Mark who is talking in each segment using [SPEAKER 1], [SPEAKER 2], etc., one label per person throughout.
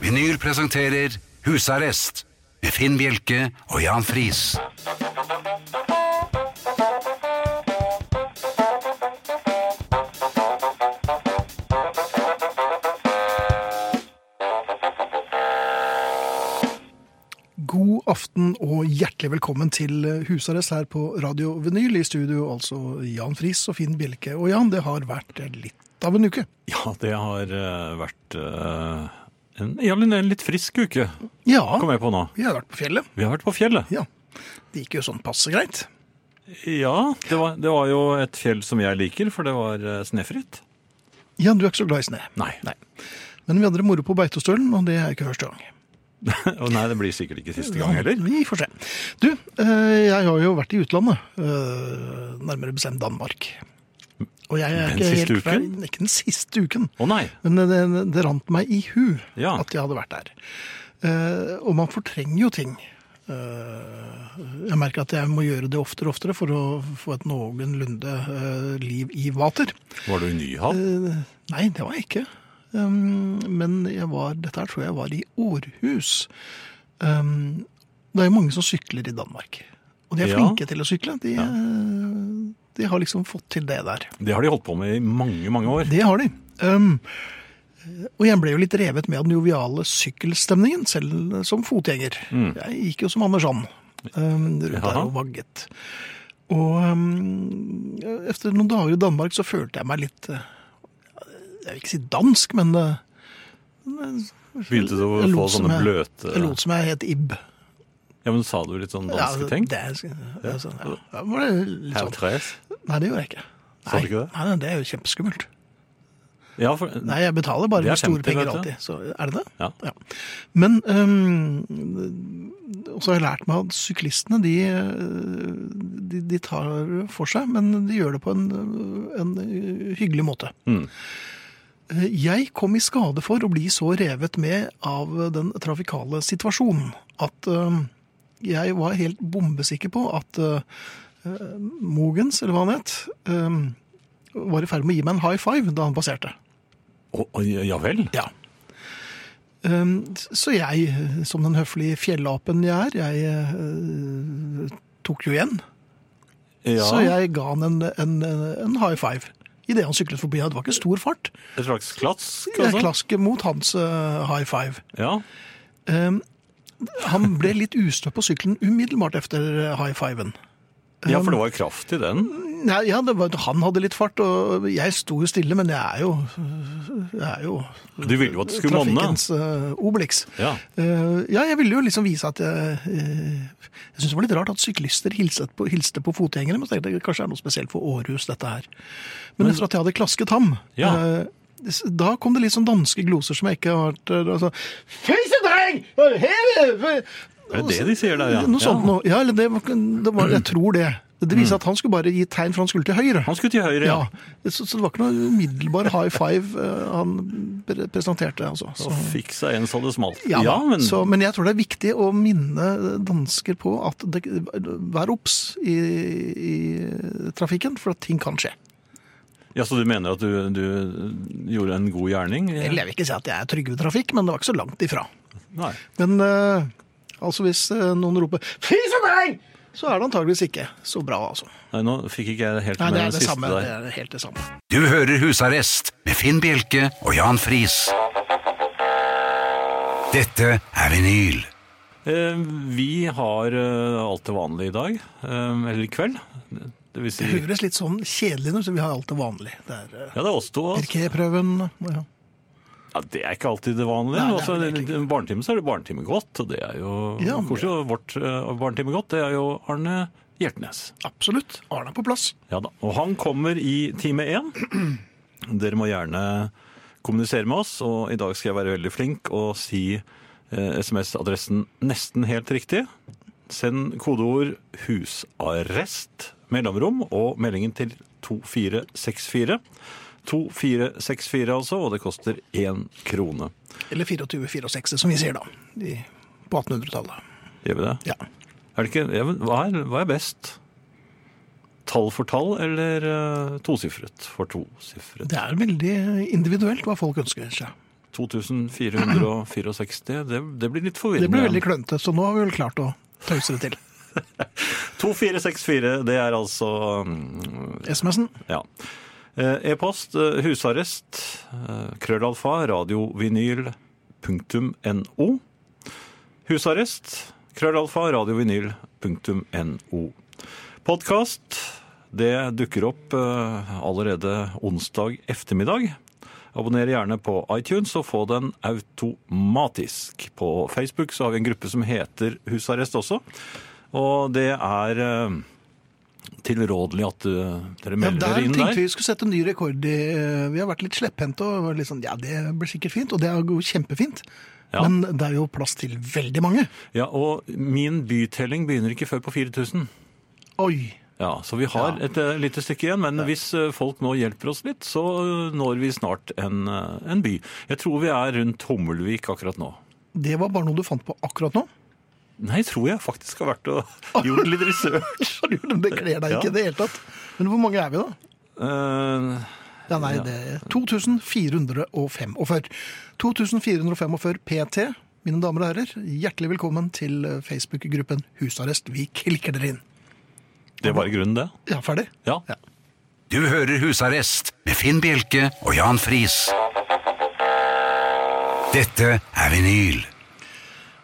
[SPEAKER 1] Vinyl presenterer Husarrest med Finn Bjelke og Jan Friis.
[SPEAKER 2] God aften og hjertelig velkommen til husarrest her på Radio Vinyl. I studio altså Jan Friis og Finn Bjelke. Og Jan, det har vært litt av en uke.
[SPEAKER 3] Ja, det har eh, vært eh, en, ja, en en litt frisk uke,
[SPEAKER 2] Ja,
[SPEAKER 3] kom jeg på nå.
[SPEAKER 2] vi har vært på fjellet.
[SPEAKER 3] Vi har vært på fjellet.
[SPEAKER 2] Ja, Det gikk jo sånn passe greit.
[SPEAKER 3] Ja, det var, det var jo et fjell som jeg liker, for det var eh, snøfritt.
[SPEAKER 2] Ja, du er ikke så glad i snø.
[SPEAKER 3] Nei.
[SPEAKER 2] Nei. Men vi hadde det moro på Beitostølen, og det er ikke første gang.
[SPEAKER 3] Og nei, det blir sikkert ikke siste gang heller.
[SPEAKER 2] Vi får se. Du, eh, jeg har jo vært i utlandet. eh, Nærmere bestemt Danmark. Og jeg er
[SPEAKER 3] Den
[SPEAKER 2] ikke
[SPEAKER 3] siste
[SPEAKER 2] helt klar-
[SPEAKER 3] uken?
[SPEAKER 2] Ikke den siste uken.
[SPEAKER 3] Å nei.
[SPEAKER 2] Men det, det, det rant meg i hu
[SPEAKER 3] Ja.
[SPEAKER 2] at jeg hadde vært der. Eh, og man fortrenger jo ting. Eh, jeg merker at jeg må gjøre det oftere og oftere for å få et noenlunde eh, liv i vater.
[SPEAKER 3] Var du i Nyhavn?
[SPEAKER 2] Eh, nei, det var jeg ikke. Um, men jeg var, dette her tror jeg var i Århus. Um, det er jo mange som sykler i Danmark. Og de er
[SPEAKER 3] Ja.
[SPEAKER 2] flinke til å sykle. De, eh, de har liksom fått til det der.
[SPEAKER 3] Det har de holdt på med i mange, mange år.
[SPEAKER 2] Det har de. Um, og jeg ble jo litt revet med av den joviale sykkelstemningen, selv som fotgjenger.
[SPEAKER 3] Mm.
[SPEAKER 2] Jeg gikk jo som Anders Sand um, rundt
[SPEAKER 3] Ja.
[SPEAKER 2] der og vagget. Og um, etter noen dager i Danmark så følte jeg meg litt eh, Jeg vil ikke si dansk, men eh,
[SPEAKER 3] Begynte du å
[SPEAKER 2] jeg
[SPEAKER 3] få
[SPEAKER 2] lot som
[SPEAKER 3] sånne
[SPEAKER 2] jeg-
[SPEAKER 3] bløte
[SPEAKER 2] jeg lot som jeg het Ib.
[SPEAKER 3] Ja, men sa du litt sånn
[SPEAKER 2] Ja,
[SPEAKER 3] danske ting?
[SPEAKER 2] Det, er- altså, ja. Ja, var det litt
[SPEAKER 3] Herr
[SPEAKER 2] sånn.
[SPEAKER 3] Tres?
[SPEAKER 2] Nei, det gjorde jeg ikke.
[SPEAKER 3] Sa du ikke det?
[SPEAKER 2] Nei, nei, det er jo kjempeskummelt.
[SPEAKER 3] Ja, for
[SPEAKER 2] Nei, jeg betaler bare
[SPEAKER 3] Det er
[SPEAKER 2] med store
[SPEAKER 3] 50,
[SPEAKER 2] penger
[SPEAKER 3] vet du.
[SPEAKER 2] alltid. Så er det det?
[SPEAKER 3] Ja.
[SPEAKER 2] Men øhm, Og så har jeg lært meg at syklistene, de, øh, de, de tar for seg, men de gjør det på en, øh, en øh, hyggelig måte.
[SPEAKER 3] Mm.
[SPEAKER 2] Eh, Jeg kom i skade for å bli så revet med av den trafikale situasjonen at øhm, jeg var helt bombesikker på at øh, øh, Mogens, eller hva han het, øhm, var i ferd med å gi meg en high five da han passerte.
[SPEAKER 3] Å, å, ja vel?
[SPEAKER 2] Ja. Ehm, Så jeg, som den høflige fjellapen jeg er, jeg eh, tok jo igjen.
[SPEAKER 3] Ja,
[SPEAKER 2] Så jeg ga han en, en, en high five idet han syklet forbi. Det var ikke stor fart.
[SPEAKER 3] Et slags klask,
[SPEAKER 2] Jeg
[SPEAKER 3] altså?
[SPEAKER 2] klask mot hans eh, high five.
[SPEAKER 3] Ja.
[SPEAKER 2] Ehm, Han ble litt ustø på sykkelen umiddelbart etter high fiven.
[SPEAKER 3] ja, for det var jo kraft i den.
[SPEAKER 2] Nei, ja, det var, han hadde litt fart, og jeg sto jo stille, men jeg er jo, eh, jeg er jo
[SPEAKER 3] Du ville jo at det skulle monne.
[SPEAKER 2] trafikkens eh, Obelix.
[SPEAKER 3] Ja.
[SPEAKER 2] Eh, ja, jeg ville jo liksom vise at jeg eh, Jeg syns det var litt rart at syklister hilset på, hilste på fotgjengere, men så tenkte jeg kanskje det er noe spesielt for Århus, dette her. Men, etter at jeg hadde klasket ham
[SPEAKER 3] Ja.
[SPEAKER 2] eh, s- da kom det litt sånn danske gloser som jeg ikke har vært eh, altså, Føyse dreng!
[SPEAKER 3] Er det det de sier der, ja?
[SPEAKER 2] Noe sånt
[SPEAKER 3] ja.
[SPEAKER 2] noe. Ja, eller det, var- det var Jeg tror det. Det viser at han skulle bare gi tegn, for han skulle til høyre.
[SPEAKER 3] Han skulle til høyre, ja.
[SPEAKER 2] Ja, så, så det var ikke noe umiddelbar high five eh, han pre- presenterte. Altså. Så,
[SPEAKER 3] Og fikk seg en så det smalt.
[SPEAKER 2] ja, da.
[SPEAKER 3] men
[SPEAKER 2] så, men jeg tror det er viktig å minne dansker på at det, vær obs i, i trafikken, for at ting kan skje.
[SPEAKER 3] Ja, Så du mener at du, du gjorde en god gjerning?
[SPEAKER 2] Eller jeg vil ikke si at jeg er trygg ved trafikk, men det var ikke så langt ifra.
[SPEAKER 3] Nei.
[SPEAKER 2] Men eh, altså hvis eh, noen roper 'fy for meg', så er det antageligvis ikke så bra, altså.
[SPEAKER 3] Nei, nå fikk ikke jeg helt
[SPEAKER 2] Nei,
[SPEAKER 3] med
[SPEAKER 2] det er det
[SPEAKER 3] siste
[SPEAKER 2] samme. Det
[SPEAKER 3] der.
[SPEAKER 2] er helt det samme.
[SPEAKER 1] Du hører Husarrest med Finn Bjelke og Jan Friis. Dette er vinyl.
[SPEAKER 3] Eh, Vi har eh, alt til vanlig i dag. eh, Eller i kveld. Det vil si
[SPEAKER 2] Det
[SPEAKER 3] Ja,
[SPEAKER 2] høres litt sånn kjedelig ut, så vi har alt det vanlige. Det er eh,
[SPEAKER 3] det er oss to. altså.
[SPEAKER 2] Pirquet-prøven. Ja.
[SPEAKER 3] Ja, det er ikke alltid det vanlige.
[SPEAKER 2] Nei, det er
[SPEAKER 3] altså,
[SPEAKER 2] det
[SPEAKER 3] i
[SPEAKER 2] egentlig
[SPEAKER 3] en barnetime så er det barnetimegodt, og det er jo
[SPEAKER 2] Ja, men-
[SPEAKER 3] koselig. Og vårt eh, barnetimegodt, det er jo Arne Hjertnes.
[SPEAKER 2] Absolutt. Arne er på plass.
[SPEAKER 3] Ja da. Og han kommer i time én. Dere må gjerne kommunisere med oss, og i dag skal jeg være veldig flink og si eh, SMS-adressen nesten helt riktig. Send kodeord 'husarrest' mellomrom og meldingen til 2464. 2464 altså, og det koster én krone.
[SPEAKER 2] Eller 24-64, som vi sier da. I, på 1800-tallet.
[SPEAKER 3] Gjør vi det?
[SPEAKER 2] Ja.
[SPEAKER 3] Er det ikke, ja, men hva, er, hva er best? Tall for tall eller uh, tosifret for tosifret?
[SPEAKER 2] Det er veldig individuelt hva folk ønsker seg.
[SPEAKER 3] 2464, det, det blir litt
[SPEAKER 2] Det ble
[SPEAKER 3] forvirrende.
[SPEAKER 2] veldig klønete, så nå har vi vel klart å tause det til.
[SPEAKER 3] 2464, det er altså mm,
[SPEAKER 2] SMS-en.
[SPEAKER 3] Ja. Eh, E-post eh, husarrest eh, krøllalfa radiovinyl.no. Husarrest krøllalfa radiovinyl.no. Podkast det dukker opp eh, allerede onsdag ettermiddag. Abonner gjerne på iTunes og få den automatisk. På Facebook så har vi en gruppe som heter Husarrest også. Og det er eh, tilrådelig at eh, dere
[SPEAKER 2] Ja,
[SPEAKER 3] melder
[SPEAKER 2] der
[SPEAKER 3] dere inn
[SPEAKER 2] tenkte
[SPEAKER 3] der.
[SPEAKER 2] vi vi skulle sette ny rekord i eh, Vi har vært litt slepphendte og var litt sånn Ja, det blir sikkert fint, og det er jo kjempefint.
[SPEAKER 3] Ja.
[SPEAKER 2] Men det er jo plass til veldig mange.
[SPEAKER 3] Ja, og min bytelling begynner ikke før på 4000.
[SPEAKER 2] Oi.
[SPEAKER 3] Ja, Så vi har
[SPEAKER 2] Ja.
[SPEAKER 3] et eh, lite stykke igjen, men hvis eh, folk nå hjelper oss litt, så eh, når vi snart en, eh, en by. Jeg tror vi er rundt Hummelvik akkurat nå.
[SPEAKER 2] Det var bare noe du fant på akkurat nå.
[SPEAKER 3] Nei, tror jeg faktisk har vært og gjort litt research.
[SPEAKER 2] Det kler deg
[SPEAKER 3] Ja.
[SPEAKER 2] ikke i det hele tatt. Men hvor mange er vi, da?
[SPEAKER 3] Eh,
[SPEAKER 2] Ja, nei, det er 2445. 2445 PT, mine damer og herrer. Hjertelig velkommen til eh, Facebook-gruppen Husarrest. Vi klikker dere inn.
[SPEAKER 3] det var i grunnen det.
[SPEAKER 2] Ja, ferdig?
[SPEAKER 3] Ja.
[SPEAKER 2] Ja.
[SPEAKER 1] Du hører Husarrest med Finn Bjelke og Jan Friis. Dette er vinyl.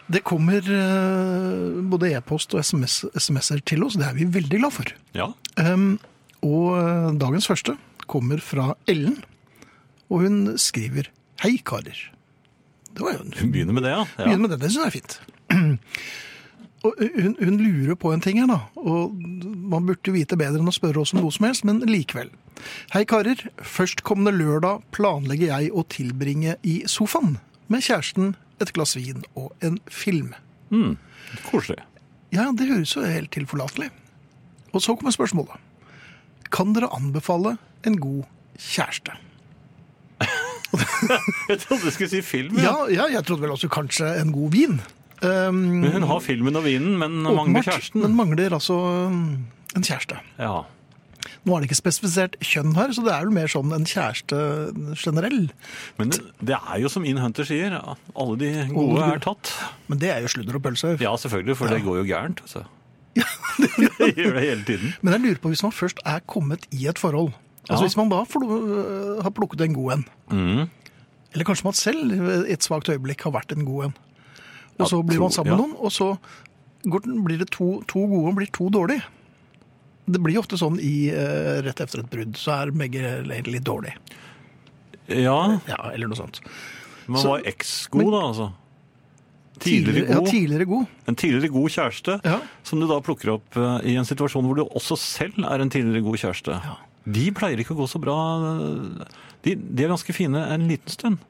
[SPEAKER 2] Det kommer eh, både e-post og SMS SMS-er til oss. Det er vi veldig glad for.
[SPEAKER 3] ja.
[SPEAKER 2] Um, og eh, dagens første kommer fra Ellen, og hun skriver Hei, karer. Det var jo en
[SPEAKER 3] Vi begynner med det, ja. ja.
[SPEAKER 2] Begynn med det. Det syns jeg er fint. Og hun, hun lurer på en ting her, da. Og man burde jo vite bedre enn å spørre oss om noe som helst, men likevel. Hei, karer. Førstkommende lørdag planlegger jeg å tilbringe i sofaen med kjæresten, et glass vin og en film.
[SPEAKER 3] Koselig.
[SPEAKER 2] Ja, det høres jo helt tilforlatelig. Og så kommer spørsmålet. Kan dere anbefale en god kjæreste?
[SPEAKER 3] Jeg trodde du skulle si film. Ja.
[SPEAKER 2] Ja, ja jeg trodde vel også kanskje en god vin. Um,
[SPEAKER 3] Men Hun har filmen og vinen, men mangler
[SPEAKER 2] Åpenbart,
[SPEAKER 3] kjæresten.
[SPEAKER 2] Men mangler altså um, en kjæreste.
[SPEAKER 3] Ja.
[SPEAKER 2] Nå er det ikke spesifisert kjønn her, så det er vel mer sånn en kjæreste generell.
[SPEAKER 3] Men det, det er jo som In Hunter sier, alle de gode er tatt.
[SPEAKER 2] Men det er jo sludder og pølse.
[SPEAKER 3] Ja, selvfølgelig, for det går jo gærent. Altså. det gjør det hele tiden.
[SPEAKER 2] Men jeg lurer på, hvis man først er kommet i et forhold, altså
[SPEAKER 3] Ja. Mm.
[SPEAKER 2] hvis man da flo- øh, har plukket en god en, eller kanskje man selv i et svagt øyeblikk har vært en god en, og
[SPEAKER 3] Ja,
[SPEAKER 2] så blir man
[SPEAKER 3] to-
[SPEAKER 2] sammen med
[SPEAKER 3] ja.
[SPEAKER 2] noen, og så går, den- blir det to, to gode og blir to dårlige. Det blir ofte sånn i eh, rett efter et brudd, så er begge litt dårlig.
[SPEAKER 3] Ja,
[SPEAKER 2] Ja, eller noe sånt.
[SPEAKER 3] man
[SPEAKER 2] Så-
[SPEAKER 3] var eks-god da, altså. Tidligere
[SPEAKER 2] ja,
[SPEAKER 3] god.
[SPEAKER 2] tidligere god.
[SPEAKER 3] En tidligere god kjæreste,
[SPEAKER 2] Ja.
[SPEAKER 3] som du da plukker opp eh, i en situasjon hvor du også selv er en tidligere god kjæreste. De pleier ikke å gå så bra. eh, De, de er ganske fine en liten stund,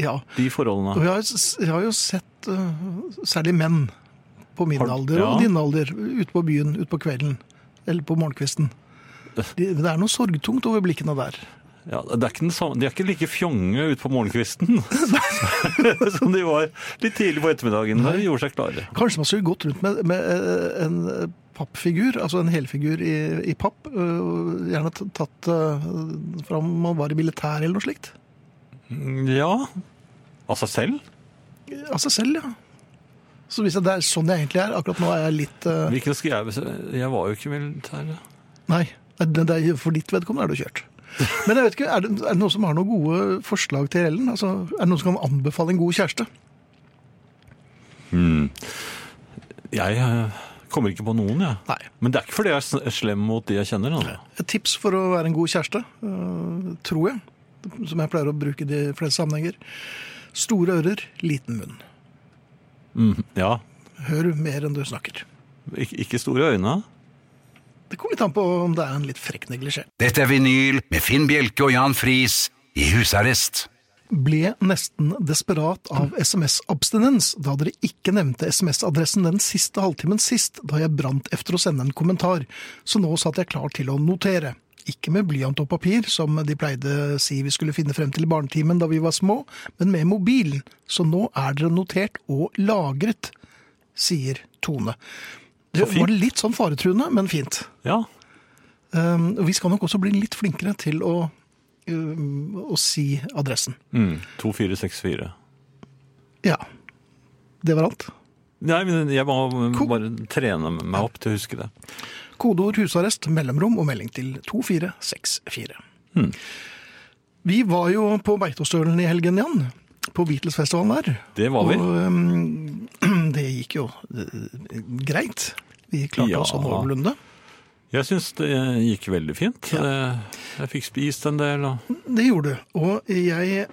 [SPEAKER 2] Ja,
[SPEAKER 3] de
[SPEAKER 2] og
[SPEAKER 3] forholdene.
[SPEAKER 2] jeg har, s- jeg har jo sett øh, særlig menn på min
[SPEAKER 3] Har-
[SPEAKER 2] alder og
[SPEAKER 3] ja.
[SPEAKER 2] din alder ute på byen, ute på kvelden eller på morgenkvisten. De, det er noe sorgtungt over blikkene der.
[SPEAKER 3] Ja, det er ikke den samme, de er ikke like fjonge ute på morgenkvisten som de var litt tidlig på ettermiddagen. Da de gjorde seg klare.
[SPEAKER 2] Kanskje man skulle gått rundt med, med øh, en øh, pappfigur, altså en helfigur i, i papp, øh, gjerne t- tatt øh, fra om man var i militær eller noe slikt.
[SPEAKER 3] Ja, av seg selv.
[SPEAKER 2] Av seg selv, ja. Så hvis jeg, det er sånn jeg egentlig er, akkurat nå er jeg litt øh,
[SPEAKER 3] Hvilken skal jeg bestemme? Jeg var jo ikke militær.
[SPEAKER 2] Nei, det, det er, for ditt vedkommende er det kjørt. Men jeg vet ikke, er det, er det noen som har noen gode forslag til Ellen? Altså, er det noen som kan anbefale en god kjæreste?
[SPEAKER 3] Jeg eh, kommer ikke på noen, jeg.
[SPEAKER 2] Nei.
[SPEAKER 3] Men det er ikke fordi jeg er sn- slem mot de jeg kjenner. altså. Da.
[SPEAKER 2] Et tips for å være en god kjæreste, øh, tror jeg, som jeg pleier å bruke i de fleste sammenhenger. Store ører, liten munn.
[SPEAKER 3] Mm, ja.
[SPEAKER 2] Hør mer enn du snakker.
[SPEAKER 3] Ik ikke store øyne.
[SPEAKER 2] Det kommer litt an på om det er en litt frekk neglisjé.
[SPEAKER 1] Dette er vinyl med Finn Bjelke og Jan Friis i husarrest.
[SPEAKER 2] Ble nesten desperat av SMS-abstinens da dere ikke nevnte SMS-adressen den siste halvtimen sist, da jeg brant efter å sende en kommentar, så nå satt jeg klar til å notere. Ikke med blyant og papir, som de pleide si vi skulle finne frem til i barnetimen da vi var små, men med mobilen, så nå er dere notert og lagret, sier Tone. Det
[SPEAKER 3] Så fint.
[SPEAKER 2] var litt sånn faretruende, men fint. Ehm,
[SPEAKER 3] Ja.
[SPEAKER 2] Um, og vi skal nok også bli litt flinkere til å eh, å si adressen.
[SPEAKER 3] Mm. 2464.
[SPEAKER 2] Ja. Det var alt.
[SPEAKER 3] Nei, men jeg må
[SPEAKER 2] Ko-
[SPEAKER 3] bare trene meg opp til å huske det.
[SPEAKER 2] Kodeord husarrest, mellomrom og melding til 2464.
[SPEAKER 3] Hmm.
[SPEAKER 2] Vi var jo på Beitostølen i helgen, Jan. På Beatles-festivalen der.
[SPEAKER 3] Det var vi.
[SPEAKER 2] Og ehm, det gikk jo eh, greit. Vi klarte
[SPEAKER 3] Ja.
[SPEAKER 2] oss sånn noenlunde.
[SPEAKER 3] Jeg syns det gikk veldig fint. Eh, Jeg fikk spist en del. Og...
[SPEAKER 2] Det gjorde du. Og jeg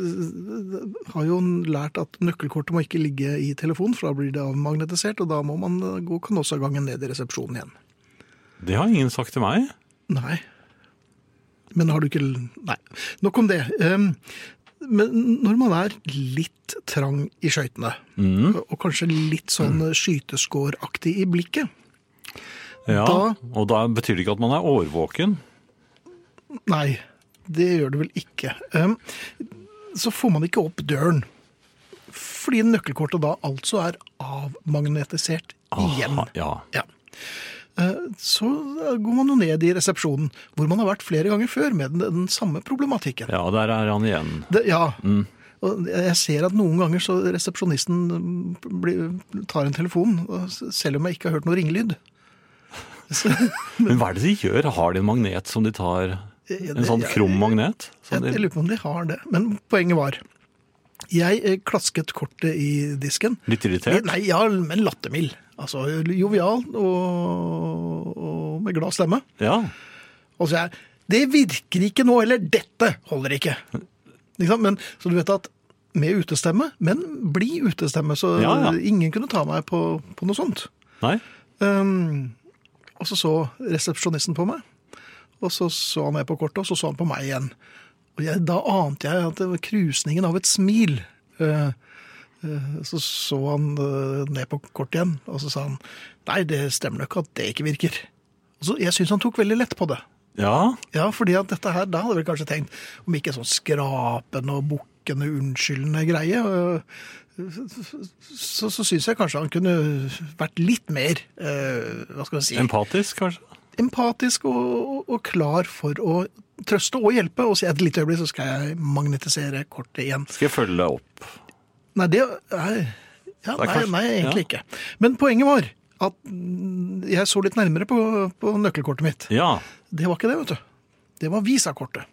[SPEAKER 2] øh, har jo lært at nøkkelkortet må ikke ligge i telefonen, for da blir det avmagnetisert, og da må man gå Canossa-gangen ned i resepsjonen igjen.
[SPEAKER 3] Det har ingen sagt til meg.
[SPEAKER 2] Nei. Men har du ikke Nei. Nok om det. Ehm, men når man er litt trang i skøytene,
[SPEAKER 3] Mm.
[SPEAKER 2] og kanskje litt sånn skyteskåraktig i blikket
[SPEAKER 3] Ja,
[SPEAKER 2] Da-
[SPEAKER 3] Og da betyr det ikke at man er årvåken.
[SPEAKER 2] Nei, det gjør det vel ikke. Ehm, Så får man ikke opp døren. Fordi nøkkelkortet da altså er avmagnetisert igjen.
[SPEAKER 3] Aha, Ja.
[SPEAKER 2] Ja. Eh, Så går man jo ned i resepsjonen, hvor man har vært flere ganger før med den, den samme problematikken.
[SPEAKER 3] ja, der er han igjen.
[SPEAKER 2] Det, ja.
[SPEAKER 3] Mm.
[SPEAKER 2] Og jeg ser at noen ganger så resepsjonisten mm, blir, tar en telefon, og s- selv om jeg ikke har hørt noe ringelyd. Så,
[SPEAKER 3] Men hva er det de gjør? Har de en magnet som de tar
[SPEAKER 2] Ja,
[SPEAKER 3] En
[SPEAKER 2] det-
[SPEAKER 3] sånn
[SPEAKER 2] ja,
[SPEAKER 3] krum magnet? Som
[SPEAKER 2] Jeg, jeg
[SPEAKER 3] de...
[SPEAKER 2] lurer på om de har det. Men poenget var Jeg eh, klasket kortet i disken.
[SPEAKER 3] Litt irritert?
[SPEAKER 2] Nei, ja, men lattermild. Altså jovial og, og med glad stemme.
[SPEAKER 3] Ja.
[SPEAKER 2] Og så er Det virker ikke nå, eller dette holder ikke. ikke sant? men, så du vet at med utestemme, men bli utestemme, så
[SPEAKER 3] Ja, ja.
[SPEAKER 2] ingen kunne ta meg på, på noe sånt.
[SPEAKER 3] Nei?
[SPEAKER 2] Um, og så så resepsjonisten på meg, og så så han ned på kortet, og så så han på meg igjen. Og jeg, da ante jeg at det var krusningen av et smil. Eh, eh, så så han eh, ned på kortet igjen, og så sa han nei, det stemmer nok at det ikke virker. Og så, jeg syns han tok veldig lett på det.
[SPEAKER 3] Ja.
[SPEAKER 2] Ja, fordi at dette her, da hadde jeg vel kanskje tenkt, om ikke sånn skrapende og bukkende, unnskyldende greie, øh, så, så synes jeg kanskje han kunne vært litt mer, øh, hva skal man si,
[SPEAKER 3] Empatisk, kanskje?
[SPEAKER 2] empatisk og, og, og klar for å trøste og hjelpe, og si at et lite øyeblikk så skal jeg magnetisere kortet igjen.
[SPEAKER 3] Skal jeg følge deg opp?
[SPEAKER 2] Nei, det er, ja,
[SPEAKER 3] Det er
[SPEAKER 2] nei,
[SPEAKER 3] kanskje-
[SPEAKER 2] nei, egentlig ikke. Men poenget var at mm, jeg så litt nærmere på, på nøkkelkortet mitt.
[SPEAKER 3] Ja.
[SPEAKER 2] Det var ikke det, vet du. Det var visakortet.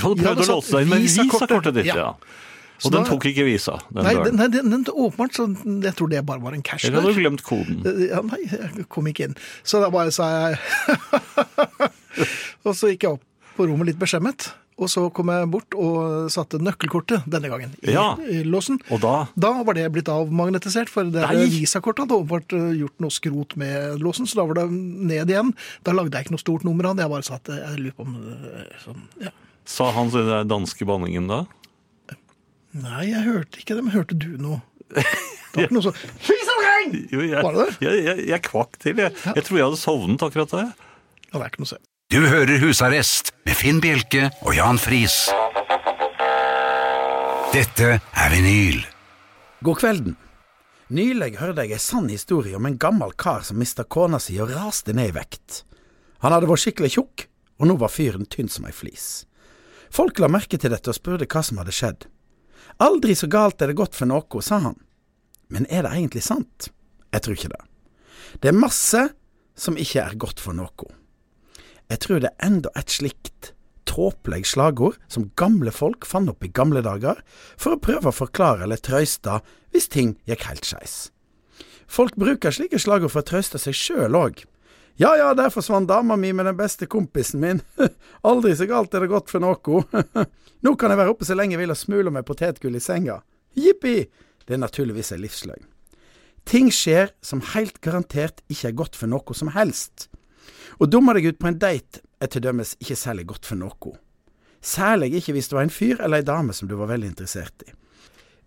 [SPEAKER 3] Du hadde
[SPEAKER 2] Ja,
[SPEAKER 3] prøvd
[SPEAKER 2] det
[SPEAKER 3] å
[SPEAKER 2] satt
[SPEAKER 3] låse deg inn med
[SPEAKER 2] visakortet.
[SPEAKER 3] visakortet ditt,
[SPEAKER 2] Ja.
[SPEAKER 3] ja.
[SPEAKER 2] Så
[SPEAKER 3] Og den
[SPEAKER 2] da-
[SPEAKER 3] tok ikke visa, den
[SPEAKER 2] Nei, den,
[SPEAKER 3] døren.
[SPEAKER 2] nei, den, den, åpenbart, så jeg tror det bare var en cash
[SPEAKER 3] Eller hadde du
[SPEAKER 2] der.
[SPEAKER 3] glemt koden?
[SPEAKER 2] Ja, nei, jeg kom ikke inn. Så da bare sa jeg Og så gikk jeg opp på rommet litt beskjemmet. Og så kom jeg bort og satte nøkkelkortet denne gangen i,
[SPEAKER 3] Ja.
[SPEAKER 2] i låsen.
[SPEAKER 3] Og da
[SPEAKER 2] Da var det blitt avmagnetisert, for det
[SPEAKER 3] Nei.
[SPEAKER 2] visakortet hadde åpenbart eh, gjort noe skrot med låsen, så da var det ned igjen. Da lagde jeg ikke noe stort nummer av det, jeg bare satt eh, Jeg lurer på om eh, sånn, ja.
[SPEAKER 3] sa han den der danske banningen da.
[SPEAKER 2] Nei, jeg hørte ikke det, men hørte du noe? Det var ikke noe sånn Visamgang!
[SPEAKER 3] Jo, jeg,
[SPEAKER 2] Var det det?
[SPEAKER 3] Jeg, jeg, jeg kvakk til. Jeg, jeg tror jeg hadde sovnet akkurat der.
[SPEAKER 2] Ja, det er ikke noe å se.
[SPEAKER 1] Du hører Husarrest med Finn Bjelke og Jan Friis. Dette er vinyl.
[SPEAKER 4] God kvelden. Nylig hørte jeg ei sann historie om en gammel kar som mista kona si og raste ned i vekt. Han hadde vært skikkelig tjukk, og nå var fyren tynn som ei flis. Folk la merke til dette og spurte hva som hadde skjedd. Aldri så galt er det godt for noe, sa han. Men er det egentlig sant? Jeg tror ikke det. Det er masse som ikke er godt for noe. Jeg tror det er enda et slikt tåpelig slagord som gamle folk fant opp i gamle dager for å prøve å forklare eller trøyste hvis ting gikk helt skeis. Folk bruker slike slagord for å trøste seg sjøl òg. Ja ja, der forsvant dama mi med den beste kompisen min. Aldri så galt er det godt for noe. Nå kan jeg være oppe så lenge jeg vil og smule med potetgull i senga. Jippi! Det er naturligvis ei livsløgn. Ting skjer som helt garantert ikke er godt for noe som helst. Å dumme deg ut på en date er til dømes ikke særlig godt for noe. Særlig ikke hvis du var en fyr eller ei dame som du var veldig interessert i.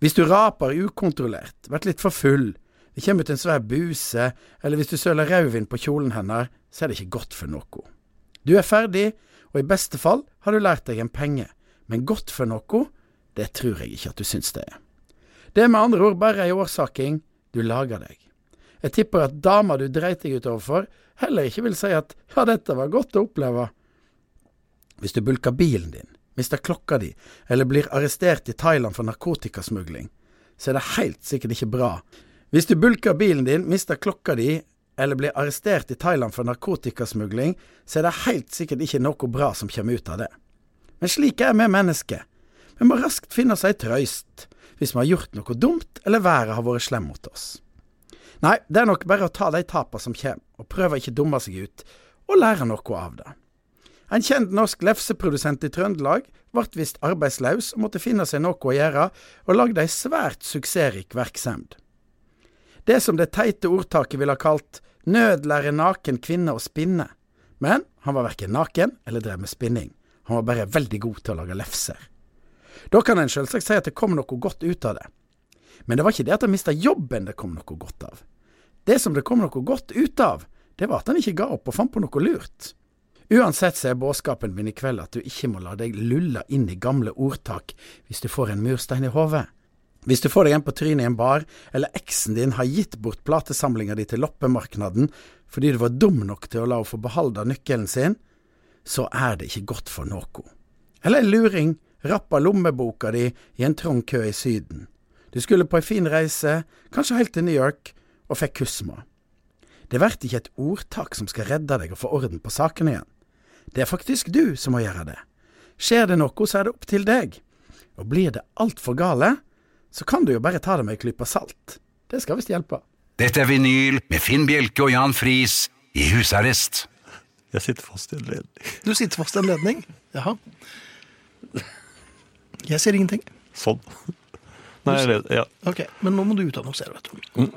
[SPEAKER 4] Hvis du raper ukontrollert, vært litt for full, det kommer ut en svær buse, eller hvis du søler rødvin på kjolen hennes, så er det ikke godt for noe. Du er ferdig, og i beste fall har du lært deg en penge, men godt for noe, det tror jeg ikke at du syns det er. Det er med andre ord bare ei årsaking, du lager deg. Jeg tipper at dama du dreit deg ut overfor, heller ikke vil si at ja, dette var godt å oppleve. hvis du bulker bilen din, mister klokka di, eller blir arrestert i Thailand for narkotikasmugling, så er det helt sikkert ikke bra. Hvis du bulker bilen din, mister klokka di, eller blir arrestert i Thailand for narkotikasmugling, så er det helt sikkert ikke noe bra som kommer ut av det. Men slik er vi mennesker. Vi må raskt finne oss ei trøyst hvis vi har gjort noe dumt, eller været har vært slem mot oss. Nei, det er nok bare å ta de tapene som kommer, og prøve å ikke dumme seg ut, og lære noe av det. En kjent norsk lefseprodusent i Trøndelag ble visst arbeidslaus og måtte finne seg noe å gjøre, og lagde ei svært suksessrik verksemd. Det som det teite ordtaket ville ha kalt nød lærer naken kvinne å spinne, men han var verken naken eller drev med spinning, han var bare veldig god til å lage lefser. Da kan en selvsagt si at det kom noe godt ut av det. Men det var ikke det at han mista jobben det kom noe godt av. Det som det kom noe godt ut av, det var at han ikke ga opp og fant på noe lurt. Uansett så er budskapen min i kveld at du ikke må la deg lulle inn i gamle ordtak hvis du får en murstein i hodet. Hvis du får deg en på trynet i en bar, eller eksen din har gitt bort platesamlinga di til loppemarknaden fordi du var dum nok til å la henne få beholde nøkkelen sin, så er det ikke godt for noe. Eller en luring rappa lommeboka di i en trang kø i Syden. Du skulle på ei fin reise, kanskje helt til New York, og fikk kusma. Det blir ikke et ordtak som skal redde deg og få orden på sakene igjen. Det er faktisk du som må gjøre det. Skjer det noe, så er det opp til deg. Og blir det altfor gale, så kan du jo bare ta det med ei klype salt. Det skal visst hjelpe.
[SPEAKER 1] Dette er vinyl med Finn Bjelke og Jan Friis i husarrest.
[SPEAKER 3] Jeg sitter fast i en ledning.
[SPEAKER 2] Du sitter fast i en ledning. Jaha. Jeg ser ingenting.
[SPEAKER 3] Sånn. Nei, jeg led, ja.
[SPEAKER 2] Ok, Men nå må du utannonsere, vet du.
[SPEAKER 3] Mm,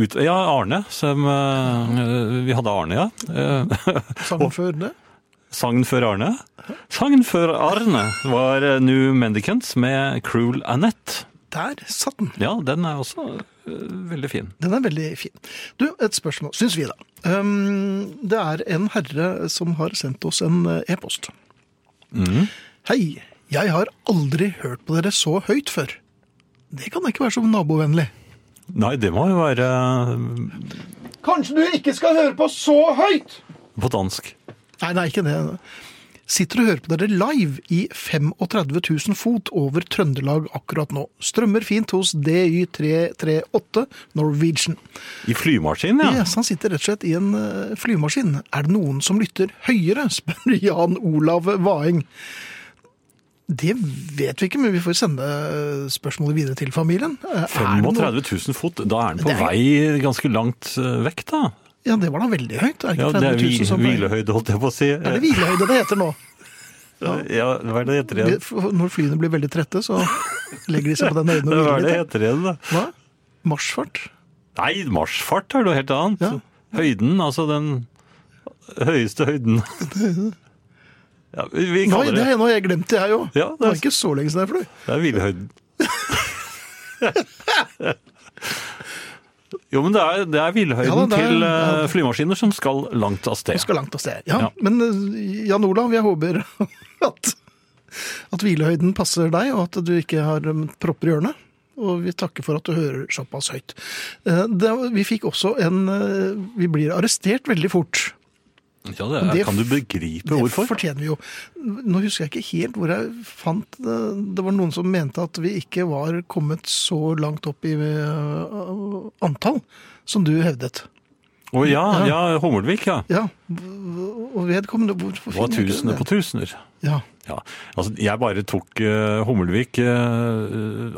[SPEAKER 3] Ut, ja, Arne. Som, eh, vi hadde Arne, ja. Eh,
[SPEAKER 2] Sangen før det.
[SPEAKER 3] Sangen før Arne. Sangen før Arne var eh, New Mendicants med Cruel Annette.
[SPEAKER 2] Der satt den.
[SPEAKER 3] Ja, den er også eh, veldig fin.
[SPEAKER 2] Den er veldig fin. Du, et spørsmål, syns vi da. Um, det er en herre som har sendt oss en eh, e-post. Hei, jeg har aldri hørt på dere så høyt før. Det kan da ikke være så nabovennlig.
[SPEAKER 3] Nei, det må jo være eh,
[SPEAKER 5] Kanskje du ikke skal høre på så høyt?
[SPEAKER 3] på dansk.
[SPEAKER 2] Nei, nei, ikke det. Sitter og hører på dere live i 35 000 fot over Trøndelag akkurat nå. Strømmer fint hos DY338 Norwegian.
[SPEAKER 3] I flymaskin, ja.
[SPEAKER 2] Yes, han sitter rett og slett i en eh, flymaskin. Er det noen som lytter høyere, spør Jan Olav Vaeng. Det vet vi ikke, men vi får sende eh, spørsmålet videre til familien. Eh, er det noe-
[SPEAKER 3] 35 000 fot, da er den på
[SPEAKER 2] Det er-
[SPEAKER 3] vei ganske langt eh, vekk, da.
[SPEAKER 2] Ja, det var da veldig høyt. Er det,
[SPEAKER 3] Ja,
[SPEAKER 2] ikke
[SPEAKER 3] det er
[SPEAKER 2] 30 000
[SPEAKER 3] hvil,
[SPEAKER 2] som-
[SPEAKER 3] hvilehøyde, holdt jeg på å si.
[SPEAKER 2] Er det hvilehøyde det heter nå?
[SPEAKER 3] Ja, hva er det heter
[SPEAKER 2] Vi-
[SPEAKER 3] igjen?
[SPEAKER 2] for- Når flyene blir veldig trette, så legger de seg på den øyden og
[SPEAKER 3] Hva er
[SPEAKER 2] hviler
[SPEAKER 3] det
[SPEAKER 2] litt.
[SPEAKER 3] heter igjen, da?
[SPEAKER 2] Hva? Marsfart?
[SPEAKER 3] Nei, marsjfart er noe helt annet.
[SPEAKER 2] Ja.
[SPEAKER 3] Høyden, altså den høyeste høyden. ja, vi vi
[SPEAKER 2] Nei,
[SPEAKER 3] kaller
[SPEAKER 2] det
[SPEAKER 3] det
[SPEAKER 2] har jeg glemt, det jeg òg.
[SPEAKER 3] Ja,
[SPEAKER 2] det
[SPEAKER 3] det er-
[SPEAKER 2] var ikke så lenge siden jeg fløy.
[SPEAKER 3] Det er hvilehøyden. jo, men det er, det er hvilehøyden
[SPEAKER 2] Ja, da, det er-
[SPEAKER 3] til eh,
[SPEAKER 2] ja.
[SPEAKER 3] flymaskiner som skal langt av sted.
[SPEAKER 2] Vi skal langt av sted. Ja,
[SPEAKER 3] Ja.
[SPEAKER 2] Men eh, Jan Olav, jeg håper at, at hvilehøyden passer deg, og at du ikke har um, propper i ørene. Og vi takker for at du hører såpass høyt. Eh, Det, vi fikk også en eh, Vi blir arrestert veldig fort.
[SPEAKER 3] Ja, det er,
[SPEAKER 2] Det-
[SPEAKER 3] kan du begripe
[SPEAKER 2] Det
[SPEAKER 3] hvorfor?
[SPEAKER 2] fortjener vi jo. Nå husker jeg ikke helt hvor jeg fant det. Det var noen som mente at vi ikke var kommet så langt opp i eh, antall som du hevdet.
[SPEAKER 3] Å ja, ja, Hummelvik, ja.
[SPEAKER 2] Ja. Og vedkommende Hvorfor
[SPEAKER 3] Det var
[SPEAKER 2] finner jeg ikke
[SPEAKER 3] tusener på
[SPEAKER 2] det?
[SPEAKER 3] tusener.
[SPEAKER 2] Ja.
[SPEAKER 3] Ja, altså Jeg bare tok eh, Hummelvik eh,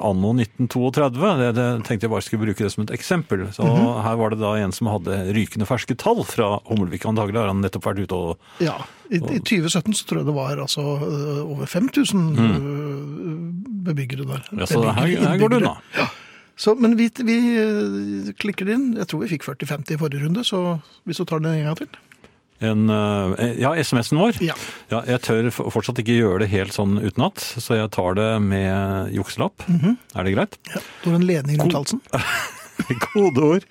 [SPEAKER 3] anno 1932. Det, det tenkte jeg bare skulle bruke det som et eksempel. Så Her var det da en som hadde rykende ferske tall fra Hummelvik. Antagelig har han nettopp vært ute og
[SPEAKER 2] Ja, i, i 2017 så tror jeg det var altså øh, over 5000 øh, bebyggere der.
[SPEAKER 3] Mm. ja, Så her, her går det unna.
[SPEAKER 2] Så, men vi, vi øh, klikker det inn. Jeg tror vi fikk 40-50 i forrige runde, så hvis du tar den en gang til.
[SPEAKER 3] En, eh, ja, SMS-en vår.
[SPEAKER 2] Ja.
[SPEAKER 3] Jeg tør f- fortsatt ikke gjøre det helt sånn utenat, så jeg tar det med jukselapp. Er det greit?
[SPEAKER 2] Du har en ledning rundt halsen.
[SPEAKER 3] Kodeord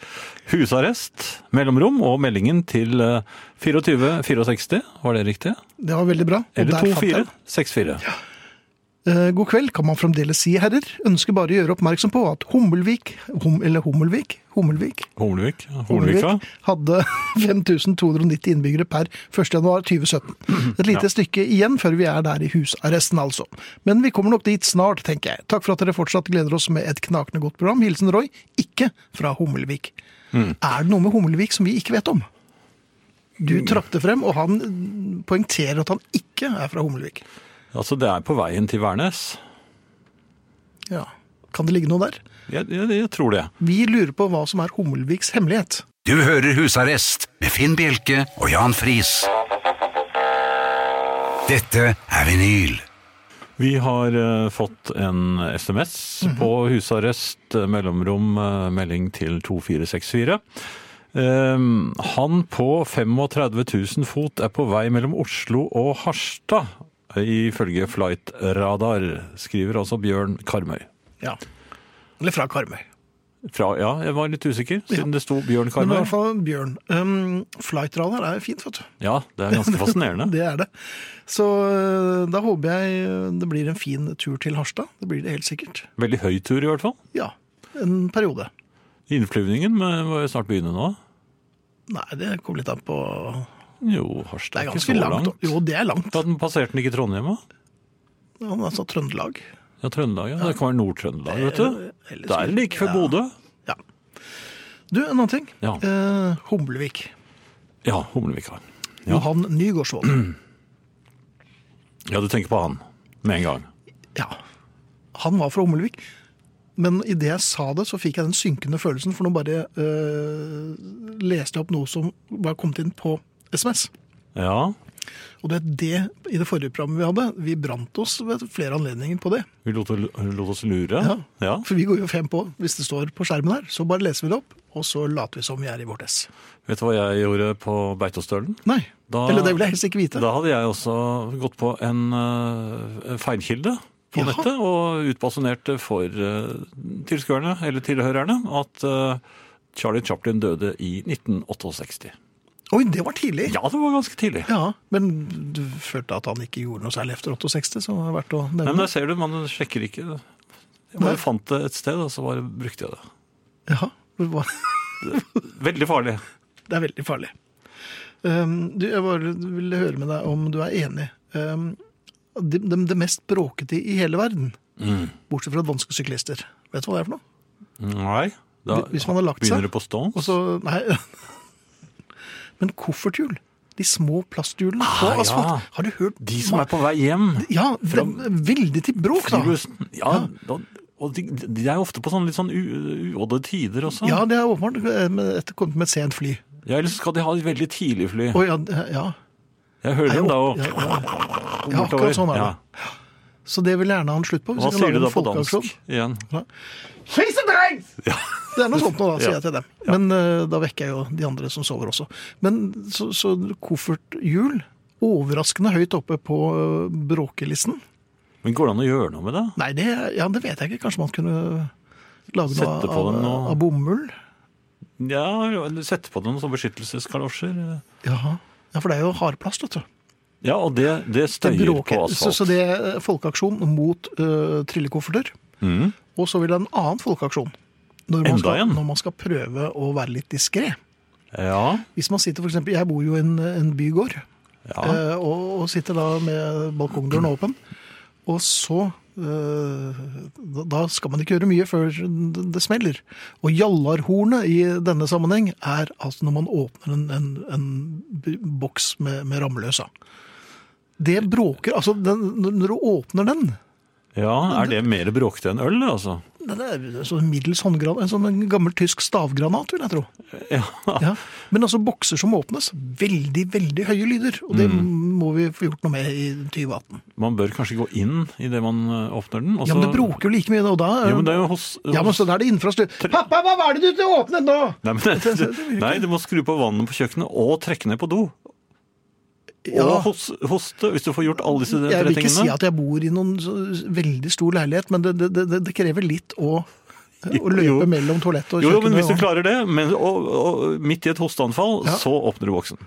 [SPEAKER 3] husarrest, mellomrom og meldingen til eh, 24 64. Var det riktig?
[SPEAKER 2] Det var veldig bra. Og
[SPEAKER 3] Eller
[SPEAKER 2] der fant jeg
[SPEAKER 3] 24 64.
[SPEAKER 2] Eh, God kveld kan man fremdeles si, herrer. Ønsker bare å gjøre oppmerksom på at Hummelvik, hum, eller Hummelvik, Hummelvik,
[SPEAKER 3] Hornvik? Hornvika?
[SPEAKER 2] Hornvik hadde 5290 innbyggere per 1.1.2017. Et lite stykke igjen før vi er der i husarresten, altså. Men vi kommer nok dit snart, tenker jeg. Takk for at dere fortsatt gleder oss med et knakende godt program. Hilsen Roy, ikke fra Hummelvik. Er det noe med Hummelvik som vi ikke vet om? Du trapte frem, og han poengterer at han ikke er fra Hummelvik.
[SPEAKER 3] Altså, det er på veien til Værnes.
[SPEAKER 2] Ja. Kan det ligge noe der?
[SPEAKER 3] Jeg, jeg, jeg tror det.
[SPEAKER 2] Vi lurer på hva som er Hummelviks hemmelighet.
[SPEAKER 1] Du hører Husarrest med Finn Bjelke og Jan Friis. Dette er vinyl.
[SPEAKER 3] Vi har eh, fått en SMS
[SPEAKER 2] Mhm.
[SPEAKER 3] på husarrest, eh, mellomrom, eh, melding til 2464. Ehm, han på 35 000 fot er på vei mellom Oslo og Harstad, ifølge Flight Radar, skriver altså Bjørn Karmøy.
[SPEAKER 2] Ja. Eller fra Karmøy.
[SPEAKER 3] Fra, ja, jeg var litt usikker, siden det sto Bjørn
[SPEAKER 2] Men i
[SPEAKER 3] Karmøy.
[SPEAKER 2] hvert fall Bjørn. Um, Flightradar er fint, vet du.
[SPEAKER 3] Ja, det er ganske fascinerende.
[SPEAKER 2] Det er det. Så øh, da håper jeg øh, det blir en fin tur til Harstad. Det blir det helt sikkert.
[SPEAKER 3] Veldig høy tur i hvert fall.
[SPEAKER 2] Ja. En periode.
[SPEAKER 3] Innflyvningen må må jo snart begynne nå.
[SPEAKER 2] Nei, det kommer litt an på
[SPEAKER 3] Jo,
[SPEAKER 2] Det
[SPEAKER 3] Harstad
[SPEAKER 2] er
[SPEAKER 3] er ikke
[SPEAKER 2] ganske
[SPEAKER 3] så
[SPEAKER 2] langt.
[SPEAKER 3] langt.
[SPEAKER 2] Jo, det er langt.
[SPEAKER 3] Da den passerte den ikke Trondheim, da?
[SPEAKER 2] Ja, men altså Trøndelag.
[SPEAKER 3] Ja, Trøndelag, ja. Det kan være Nord-Trøndelag, vet du.
[SPEAKER 2] Eller
[SPEAKER 3] Det er
[SPEAKER 2] Sør-
[SPEAKER 3] like før Bodø.
[SPEAKER 2] Ja. Du, en annen ting.
[SPEAKER 3] Ja.
[SPEAKER 2] Eh, Humlevik.
[SPEAKER 3] Ja, Humlevika. Ja.
[SPEAKER 2] Johan Nygaardsvold.
[SPEAKER 3] Ja, du tenker på han med en gang.
[SPEAKER 2] Ja. Han var fra Humlevik. Men idet jeg sa det, så fikk jeg den synkende følelsen, for nå bare øh, leste jeg opp noe som var kommet inn på SMS.
[SPEAKER 3] Ja,
[SPEAKER 2] Og det er det i det forrige programmet vi hadde. Vi brant oss ved flere anledninger på det.
[SPEAKER 3] vi lot, lot oss lure.
[SPEAKER 2] Ja.
[SPEAKER 3] Ja.
[SPEAKER 2] For vi går jo fem på hvis det står på skjermen her. Så bare leser vi det opp, og så later vi som vi er i vårt ess.
[SPEAKER 3] Vet du hva jeg gjorde på Beitostølen?
[SPEAKER 2] Nei.
[SPEAKER 3] Da-
[SPEAKER 2] Eller det vil jeg helst ikke vite.
[SPEAKER 3] Da hadde jeg også gått på en eh, feilkilde på
[SPEAKER 2] Jaha.
[SPEAKER 3] nettet, og utbasunerte for eh, tilskuerne, eller tilhørerne, at eh, Charlie Chaplin døde i 1968.
[SPEAKER 2] Oi, det var tidlig!
[SPEAKER 3] Ja, det var ganske tidlig.
[SPEAKER 2] Ja, Men du følte at han ikke gjorde noe særlig efter 68, som er verdt å
[SPEAKER 3] Nei, men
[SPEAKER 2] nevne?
[SPEAKER 3] der ser du, man sjekker ikke. Jeg
[SPEAKER 2] Nei.
[SPEAKER 3] bare fant det et sted, og så bare brukte jeg det.
[SPEAKER 2] Ja, det var-
[SPEAKER 3] Veldig farlig.
[SPEAKER 2] Det er veldig farlig. Um, du, jeg bare ville høre med deg om du er enig. Um, det, det, det mest bråkete i hele verden,
[SPEAKER 3] Mm.
[SPEAKER 2] bortsett fra danske syklister. Vet du hva det er for noe?
[SPEAKER 3] Nei.
[SPEAKER 2] Hvi- hvis man har lagt seg,
[SPEAKER 3] begynner det på stånd.
[SPEAKER 2] Og så, nei Men kofferthjul. De små plasthjulene på
[SPEAKER 3] Ah, ja.
[SPEAKER 2] asfalt. Har du hørt
[SPEAKER 3] De som er på vei hjem.
[SPEAKER 2] Ja, det er veldig til bråk, da.
[SPEAKER 3] flybussen. Ja, da, og de, de er ofte på sånne litt sånn u- uodde tider også.
[SPEAKER 2] Ja, det er åpenbart eh, med- etter kommet med et sent fly.
[SPEAKER 3] Ja, Ellers skal de ha et veldig tidlig fly.
[SPEAKER 2] Å ja, det- ja.
[SPEAKER 3] Jeg hører dem da og
[SPEAKER 2] Ja, ja. ja, akkurat sånn er det. Så det vil jeg gjerne ha en slutt på. hvis
[SPEAKER 3] Hva
[SPEAKER 2] vi kan
[SPEAKER 3] sier
[SPEAKER 2] lage
[SPEAKER 3] du da
[SPEAKER 2] en
[SPEAKER 3] på
[SPEAKER 2] folkeaksjon.
[SPEAKER 3] dansk igjen?
[SPEAKER 5] Fisedrengs!
[SPEAKER 2] Det er noe sånt nå, da, sier
[SPEAKER 3] Ja.
[SPEAKER 2] jeg til dem. Men eh, da vekker jeg jo de andre som sover også. Men så, så kofferthjul Overraskende høyt oppe på eh, bråkelisten.
[SPEAKER 3] Men går det an å gjøre noe med det?
[SPEAKER 2] Nei, det, ja, det vet jeg ikke. Kanskje man kunne lage noe
[SPEAKER 3] Sette på
[SPEAKER 2] av,
[SPEAKER 3] den og-
[SPEAKER 2] av bomull?
[SPEAKER 3] Ja, eller Sette på noen sånne beskyttelseskalosjer?
[SPEAKER 2] eh. Jaha. Ja, for det er jo hardplast, vet du.
[SPEAKER 3] Ja, og det, det
[SPEAKER 2] Det
[SPEAKER 3] støyer på
[SPEAKER 2] bråker. Så,
[SPEAKER 3] asfalt.
[SPEAKER 2] så det er eh, folkeaksjon mot eh, trillekofferter. Og så vil det en annen folkeaksjon. Når
[SPEAKER 3] Mm. Enda
[SPEAKER 2] man, skal,
[SPEAKER 3] en?
[SPEAKER 2] når man skal prøve å være litt diskré.
[SPEAKER 3] Ja,
[SPEAKER 2] Hvis man sitter f.eks. Jeg bor jo i en, en bygård.
[SPEAKER 3] ja.
[SPEAKER 2] Eh, og, og sitter da med balkongdøren åpen. Og så eh, da- Da skal man ikke gjøre mye før det det smeller. Og jallarhornet i denne sammenheng er altså når man åpner en, en, en b- boks med, med rammeløsa. Det bråker Altså, den, når- når du åpner den
[SPEAKER 3] ja, er det mer bråkete enn øl, altså?
[SPEAKER 2] Den er sånn middels håndgranat, en sånn gammel tysk stavgranat, vil jeg tro.
[SPEAKER 3] Ja.
[SPEAKER 2] Ja. Men altså bokser som åpnes, veldig, veldig høye lyder. Og det må vi få gjort noe med i 2018.
[SPEAKER 3] Man bør kanskje gå inn idet man eh, åpner den. og
[SPEAKER 2] Ja, men det
[SPEAKER 3] så-
[SPEAKER 2] bråker jo like mye, og da
[SPEAKER 3] Jo, men det er jo hos,
[SPEAKER 2] Ja, men så da er det innenfra styr.
[SPEAKER 5] Pappa, hva var det du til åpnet nå?
[SPEAKER 3] Nei, men det, nei, du må skru på vannet på kjøkkenet og trekke ned på do. Og
[SPEAKER 2] Ja.
[SPEAKER 3] hos, hoste, hvis du får gjort alle disse tre
[SPEAKER 2] Jeg vil ikke si
[SPEAKER 3] tingene.
[SPEAKER 2] at jeg bor i noen så- veldig stor leilighet, men det, det, det, det krever litt å, å
[SPEAKER 3] Jo.
[SPEAKER 2] løpe mellom toalett og
[SPEAKER 3] jo, jo, men hvis du
[SPEAKER 2] kjøkkenet. og-
[SPEAKER 3] klarer det, men, og, og midt i et hosteanfall,
[SPEAKER 2] Ja.
[SPEAKER 3] så åpner du boksen.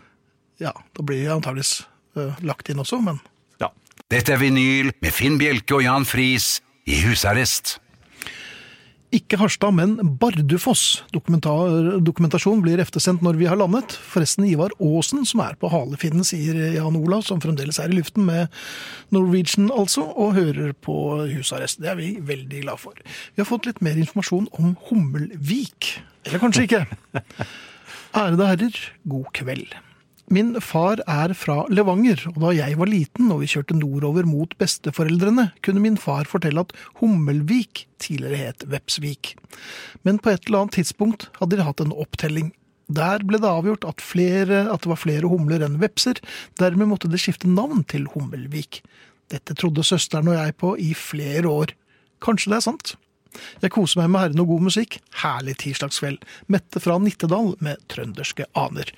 [SPEAKER 2] Ja, da blir jeg antageligvis øh, lagt inn eh, også, men
[SPEAKER 3] Ja.
[SPEAKER 1] Dette er vinyl med Finn Bjelke og Jan Friis i husarrest.
[SPEAKER 2] Ikke Harstad, men Bardufoss. Dokumentar- Dokumentasjon blir eftersendt når vi har landet. Forresten Ivar Aasen, som er på halefinnen, sier Jan Olav, som fremdeles er i luften med Norwegian, altså, og hører på husarrest. Det er vi veldig glad for. Vi har fått litt mer informasjon om Hummelvik. Eller kanskje ikke. Ærede herrer, god kveld. Min far er fra Levanger, og da jeg var liten og vi kjørte nordover mot besteforeldrene, kunne min far fortelle at Hummelvik tidligere het Vepsvik. Men på et eller annet tidspunkt hadde de hatt en opptelling. Der ble det avgjort at, flere, at det var flere humler enn vepser, dermed måtte det skifte navn til Hummelvik. Dette trodde søsteren og jeg på i flere år. Kanskje det er sant? Jeg koser meg med herren og god musikk. Herlig tirsdagskveld. Mette fra Nittedal med trønderske aner.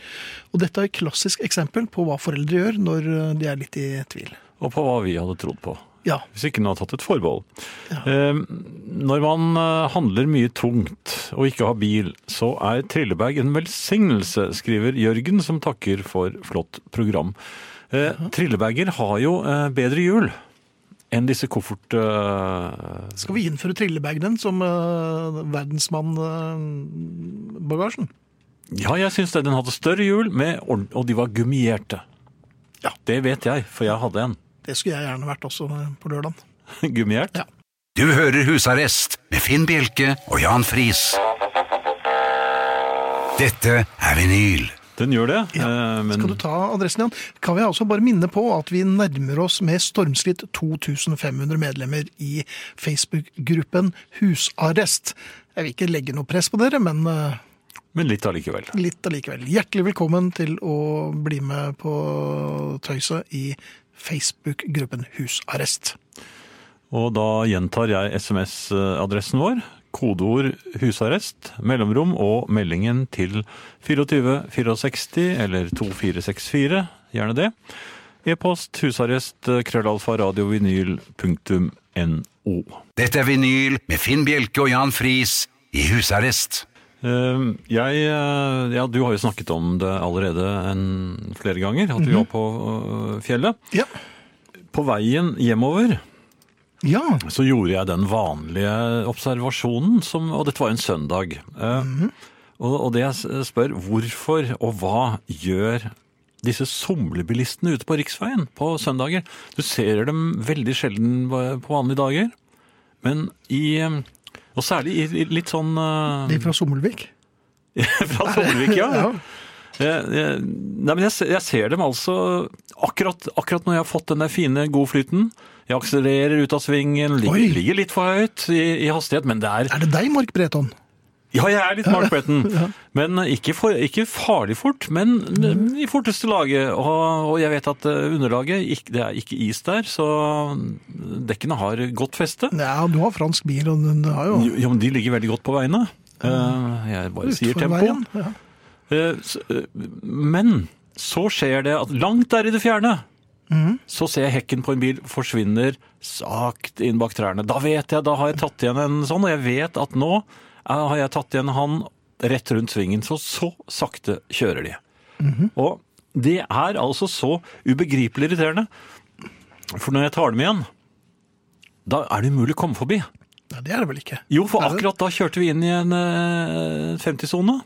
[SPEAKER 2] Og dette er et klassisk eksempel på hva foreldre gjør når eh, de er litt i tvil.
[SPEAKER 3] Og på hva vi hadde trodd på.
[SPEAKER 2] Ja,
[SPEAKER 3] Hvis ikke noen har tatt et forbehold. Eh, Når man eh, handler mye tungt og ikke har bil, så er trillebag en velsignelse, skriver Jørgen, som takker for flott program. Eh, Trillebager har jo eh, bedre hjul enn disse koffert... eh,
[SPEAKER 2] skal vi innføre trillebagen som eh, uh, verdensmannbagasjen?
[SPEAKER 3] Ja, jeg syns det. Den hadde større hjul, med, ord- og de var gummierte.
[SPEAKER 2] Ja.
[SPEAKER 3] Det vet jeg, for jeg hadde en.
[SPEAKER 2] det skulle jeg gjerne vært også eh, på lørdag.
[SPEAKER 3] Gummiert?
[SPEAKER 2] Ja.
[SPEAKER 1] Du hører Husarrest med Finn Bjelke og Jan Friis. Dette er vinyl.
[SPEAKER 3] Den gjør det.
[SPEAKER 2] Ja.
[SPEAKER 3] eh, men
[SPEAKER 2] Skal du ta adressen igjen? Kan vi altså bare minne på at vi nærmer oss med stormskritt 2500 medlemmer i Facebook-gruppen Husarrest. Jeg vil ikke legge noe press på dere, men eh,
[SPEAKER 3] men litt allikevel.
[SPEAKER 2] litt allikevel. Hjertelig velkommen til å bli med på tøyset i Facebook-gruppen Husarrest.
[SPEAKER 3] Og da gjentar jeg SMS-adressen vår. Kodeord 'husarrest', mellomrom og meldingen til 24460 eller 2464, gjerne det. E-post husarrest krøllalfa radiovinyl.no.
[SPEAKER 1] Dette er vinyl med Finn Bjelke og Jan Friis i husarrest.
[SPEAKER 3] Eh, Jeg, eh, ja, du har jo snakket om det allerede en, flere ganger, at vi
[SPEAKER 2] Mhm.
[SPEAKER 3] var på eh, fjellet.
[SPEAKER 2] Ja.
[SPEAKER 3] På veien hjemover
[SPEAKER 2] Ja.
[SPEAKER 3] så gjorde jeg den vanlige observasjonen, som, og dette var en søndag. Eh, og, og det jeg s- spør, hvorfor og hva gjør disse somlebilistene ute på riksveien på søndager? Du ser dem veldig sjelden på på vanlige dager, men i eh, og særlig i i litt sånn eh,
[SPEAKER 2] De fra Sommelvik.
[SPEAKER 3] fra Sommervik, ja.
[SPEAKER 2] Ja.
[SPEAKER 3] Jeg, jeg, nei, men jeg, ser- jeg ser dem altså akkurat, akkurat når jeg har fått den der fine, gode flyten. Jeg akselererer ut av svingen,
[SPEAKER 2] Oi.
[SPEAKER 3] ligger, ligger litt for høyt i, i hastighet, men det er
[SPEAKER 2] Er det deg, Mark Breton?
[SPEAKER 3] Ja, jeg er litt Mark Breton. Men ikke, for, ikke farlig fort, men i forteste laget. Og, og jeg vet at eh, underlaget ikk- Det er ikke is der, så dekkene har godt feste.
[SPEAKER 2] Ja, du har fransk bil, og den har jo
[SPEAKER 3] Jo, men de ligger veldig godt på veiene. Eh, Jeg bare sier
[SPEAKER 2] utfor
[SPEAKER 3] tempo.
[SPEAKER 2] veien. Ja.
[SPEAKER 3] Eh, s- eh, Men så skjer det at langt der i det fjerne,
[SPEAKER 2] Mm.
[SPEAKER 3] så ser jeg hekken på en bil forsvinner sakt inn bak trærne. Da vet jeg, da har jeg tatt igjen en sånn, og jeg vet at nå eh, har jeg tatt igjen han rett rundt svingen. Så så sakte kjører de.
[SPEAKER 2] Mm-hmm.
[SPEAKER 3] Og det er altså så ubegripelig irriterende. For når jeg tar dem igjen, da er det umulig å komme forbi.
[SPEAKER 2] Nei, det er det vel ikke.
[SPEAKER 3] Jo, for
[SPEAKER 2] Er det?
[SPEAKER 3] akkurat da kjørte vi inn i en eh, 50-sone.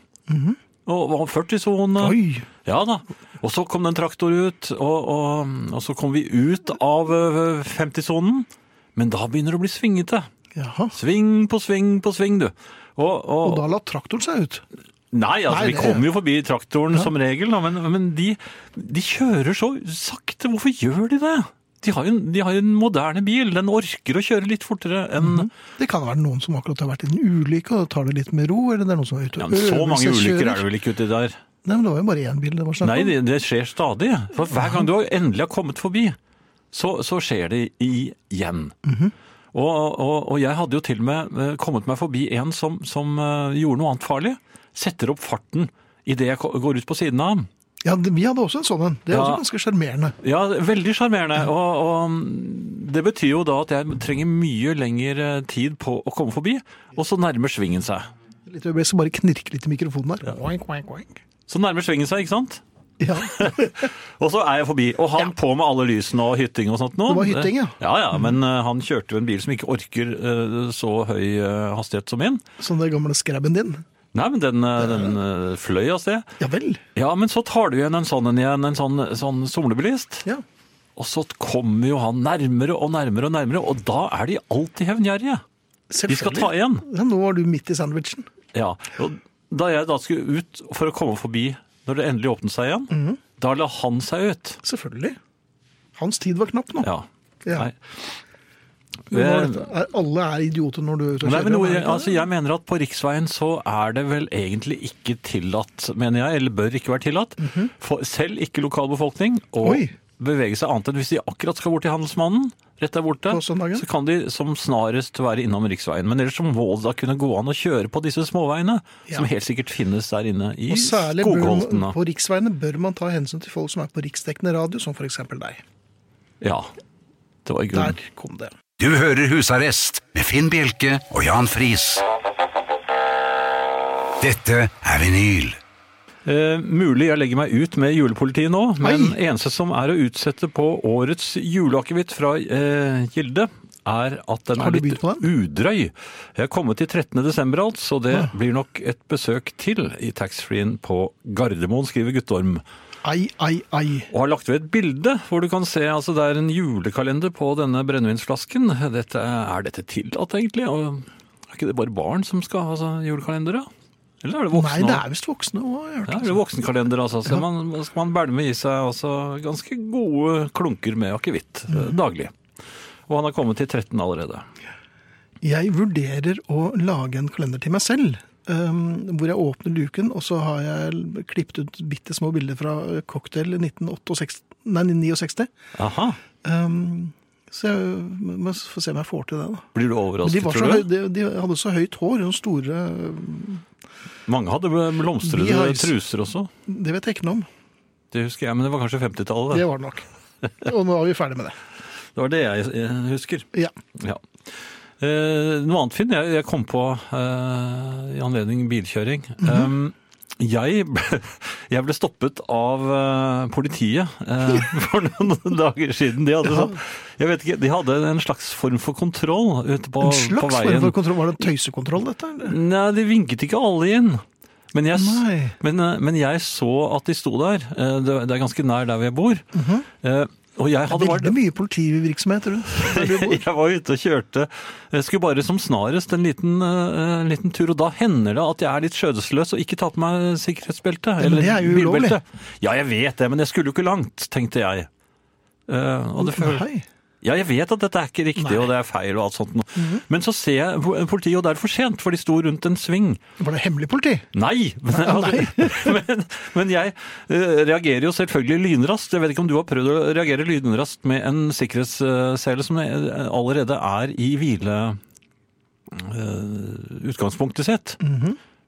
[SPEAKER 3] Og og 40-sone.
[SPEAKER 2] Mm-hmm. Oi!
[SPEAKER 3] Ja da. Og så kom det en traktor ut, og, og, og så kom vi ut av eh, 50-sonen. Men da begynner det å bli svingete.
[SPEAKER 2] Jaha.
[SPEAKER 3] Sving på sving på sving, du. Og,
[SPEAKER 2] Og
[SPEAKER 3] og,
[SPEAKER 2] da la traktoren seg ut.
[SPEAKER 3] nei, altså,
[SPEAKER 2] Nei,
[SPEAKER 3] vi
[SPEAKER 2] det-
[SPEAKER 3] kommer jo forbi traktoren som regel, da, men, men de, de kjører så sakte. Hvorfor gjør de det? De har, jo, en- de har jo en moderne bil. Den orker å kjøre litt fortere enn
[SPEAKER 2] Det kan være noen som akkurat har vært i en ulykke og tar det litt med ro. eller det er noen som er ute
[SPEAKER 3] ja,
[SPEAKER 2] og
[SPEAKER 3] men Så mange ulykker er
[SPEAKER 2] øvelseskjører.
[SPEAKER 3] det vel ikke uti der?
[SPEAKER 2] Nei, men Det var jo bare én bil det var snakk
[SPEAKER 3] Nei,
[SPEAKER 2] om.
[SPEAKER 3] det, det skjer stadig. For hver gang du endelig har kommet forbi, så, så skjer det igjen. og, og, og jeg hadde jo til og med eh, kommet meg forbi en som, som eh, gjorde noe annet farlig. Setter opp farten idet jeg ko- går ut på siden av ham.
[SPEAKER 2] Ja, det- Vi hadde også en sånn en. Det er
[SPEAKER 3] Ja.
[SPEAKER 2] også ganske sjarmerende.
[SPEAKER 3] Ja, veldig sjarmerende. Og, og mm, det betyr jo da at jeg trenger mye lengre tid på å komme forbi, og så nærmer svingen seg.
[SPEAKER 2] Litt øyeblikk, så bare knirke litt i mikrofonen der. Oink, oink, oink.
[SPEAKER 3] Så nærmer svingen seg, ikke sant?
[SPEAKER 2] Ja.
[SPEAKER 3] Og så er jeg forbi. Og han på med alle lysene og hytting og sånt. Nå.
[SPEAKER 2] Det var hytting, ja.
[SPEAKER 3] Ja, ja, Men eh, han kjørte jo en bil som ikke orker eh, så høy eh, hastighet som min.
[SPEAKER 2] Som den gamle skrabben din.
[SPEAKER 3] Nei, men den, eh, den eh, fløy av sted.
[SPEAKER 2] Ja vel.
[SPEAKER 3] Ja, men så tar du igjen en sånn en igjen, en sånn, sånn somlebilist.
[SPEAKER 2] Ja.
[SPEAKER 3] Og så kommer jo han nærmere og nærmere og nærmere, og da er de alltid hevngjerrige. De skal ta igjen.
[SPEAKER 2] Ja, nå var du midt i sandwichen.
[SPEAKER 3] Ja, og Da jeg da skulle ut for å komme forbi når det endelig åpnet seg igjen,
[SPEAKER 2] Mhm.
[SPEAKER 3] da la han seg ut.
[SPEAKER 2] Selvfølgelig. Hans tid var knapp nå.
[SPEAKER 3] Ja.
[SPEAKER 2] Ja.
[SPEAKER 3] Nei.
[SPEAKER 2] Nå er
[SPEAKER 3] Eh,
[SPEAKER 2] dette- er, alle er idioter når du er ute og
[SPEAKER 3] Nei,
[SPEAKER 2] kjører.
[SPEAKER 3] men noe,
[SPEAKER 2] er det
[SPEAKER 3] jeg,
[SPEAKER 2] ikke det?
[SPEAKER 3] altså, jeg mener at på riksveien så er det vel egentlig ikke tillatt, mener jeg, eller bør ikke være tillatt, for selv ikke lokalbefolkning,
[SPEAKER 2] Mhm.
[SPEAKER 3] å
[SPEAKER 2] Oi.
[SPEAKER 3] bevege seg annet enn hvis de akkurat skal bort til handelsmannen, rett der borte,
[SPEAKER 2] På søndagen?
[SPEAKER 3] så kan de som snarest være innom riksveien. Men ellers så må det da kunne gå an å kjøre på disse småveiene,
[SPEAKER 2] Ja.
[SPEAKER 3] som helt sikkert finnes der inne i
[SPEAKER 2] Og særlig bør
[SPEAKER 3] skogholtene.
[SPEAKER 2] man, på riksveiene bør man ta hensyn til folk som er på riksdekkende radio, som f.eks. deg.
[SPEAKER 3] Ja, det var i
[SPEAKER 2] Der
[SPEAKER 3] grunnen.
[SPEAKER 2] kom det.
[SPEAKER 1] Du hører Husarrest med Finn Bjelke og Jan Friis. Dette er vinyl.
[SPEAKER 3] Eh, mulig jeg legger meg ut med julepolitiet nå, men
[SPEAKER 2] Hei!
[SPEAKER 3] eneste som er å utsette på årets juleakevitt fra eh, Gilde, er at den
[SPEAKER 2] Har
[SPEAKER 3] er
[SPEAKER 2] du begynt
[SPEAKER 3] litt
[SPEAKER 2] på
[SPEAKER 3] udrøy. Jeg er kommet til 13. desember alt, så det blir nok et besøk til i taxfree-en på Gardermoen, skriver Guttorm.
[SPEAKER 2] Ai, ai, ai.
[SPEAKER 3] Og har lagt ved et bilde hvor du kan se altså det er en julekalender på denne brennevinsflasken. Dette, er dette tillatt, egentlig? Og er ikke det bare barn som skal ha altså, julekalendere? Eller er det voksne?
[SPEAKER 2] Nei, det
[SPEAKER 3] også?
[SPEAKER 2] er visst voksne òg.
[SPEAKER 3] Ja, det er voksenkalender, altså. Så man, skal man bælme i seg altså, ganske gode klunker med akevitt eh,
[SPEAKER 2] Mm.
[SPEAKER 3] daglig. Og han har kommet til 13 allerede.
[SPEAKER 2] Jeg vurderer å lage en kalender til meg selv. ehm, hvor jeg åpner luken, og så har jeg klippet ut bitte små bilder fra cocktail i 1968, nei, 69.
[SPEAKER 3] Aha.
[SPEAKER 2] Ehm, så jeg må få se om jeg får til det, da.
[SPEAKER 3] Blir du
[SPEAKER 2] Men de,
[SPEAKER 3] overrasket,
[SPEAKER 2] var så
[SPEAKER 3] tror
[SPEAKER 2] høy,
[SPEAKER 3] du?
[SPEAKER 2] de, de hadde så høyt hår, og store
[SPEAKER 3] Mange hadde
[SPEAKER 2] Vi
[SPEAKER 3] blomstrede
[SPEAKER 2] har-
[SPEAKER 3] truser også.
[SPEAKER 2] Det vet jeg ikke noe om.
[SPEAKER 3] Det husker jeg, men det var kanskje 50-tallet.
[SPEAKER 2] Det
[SPEAKER 3] Det.
[SPEAKER 2] var det nok. Og nå er vi ferdig med det.
[SPEAKER 3] det var det jeg eh, husker.
[SPEAKER 2] Ja.
[SPEAKER 3] Ja. Eh, noe annet, Finn. Jeg, jeg kom på eh, i anledning bilkjøring.
[SPEAKER 2] Mhm.
[SPEAKER 3] Eh, jeg, ble, jeg ble stoppet av eh, politiet eh, for noen dager siden. De hadde, sånn, jeg vet ikke, de hadde en slags form for kontroll ute på,
[SPEAKER 2] En
[SPEAKER 3] på
[SPEAKER 2] slags
[SPEAKER 3] veien.
[SPEAKER 2] form for kontroll. Var det tøysekontroll, dette? Eller?
[SPEAKER 3] Nei, de vinket ikke alle inn. Men jeg, s-
[SPEAKER 2] Nei.
[SPEAKER 3] men, eh, men jeg så at de sto der. Eh, Det det er ganske nær der hvor jeg bor.
[SPEAKER 2] Mhm.
[SPEAKER 3] Eh, Og jeg hadde vært
[SPEAKER 2] Veldig mye politivirksomhet rundt. der du bor.
[SPEAKER 3] jeg var ute og kjørte. Jeg skulle bare som snarest en liten, eh, liten tur, og da hender det at jeg er litt skjødesløs og ikke tar på meg sikkerhetsbelte.
[SPEAKER 2] men det er jo ulovlig.
[SPEAKER 3] bilbelte. Ja, jeg vet det, men jeg skulle jo ikke langt, tenkte jeg. Eh, og det føl-
[SPEAKER 2] Nei.
[SPEAKER 3] ja, jeg vet at dette er ikke riktig, og det er feil og alt sånt. noe.
[SPEAKER 2] Mhm.
[SPEAKER 3] Men så ser jeg po- politiet, og det er for sent, for de sto rundt en sving.
[SPEAKER 2] Var det hemmelig politi?
[SPEAKER 3] Nei! Men, altså, men, men jeg eh, reagerer jo selvfølgelig lynraskt. Jeg vet ikke om du har prøvd å reagere lynraskt med en sikkerhetssele som eh, allerede er i hvile eh, utgangspunktet sitt.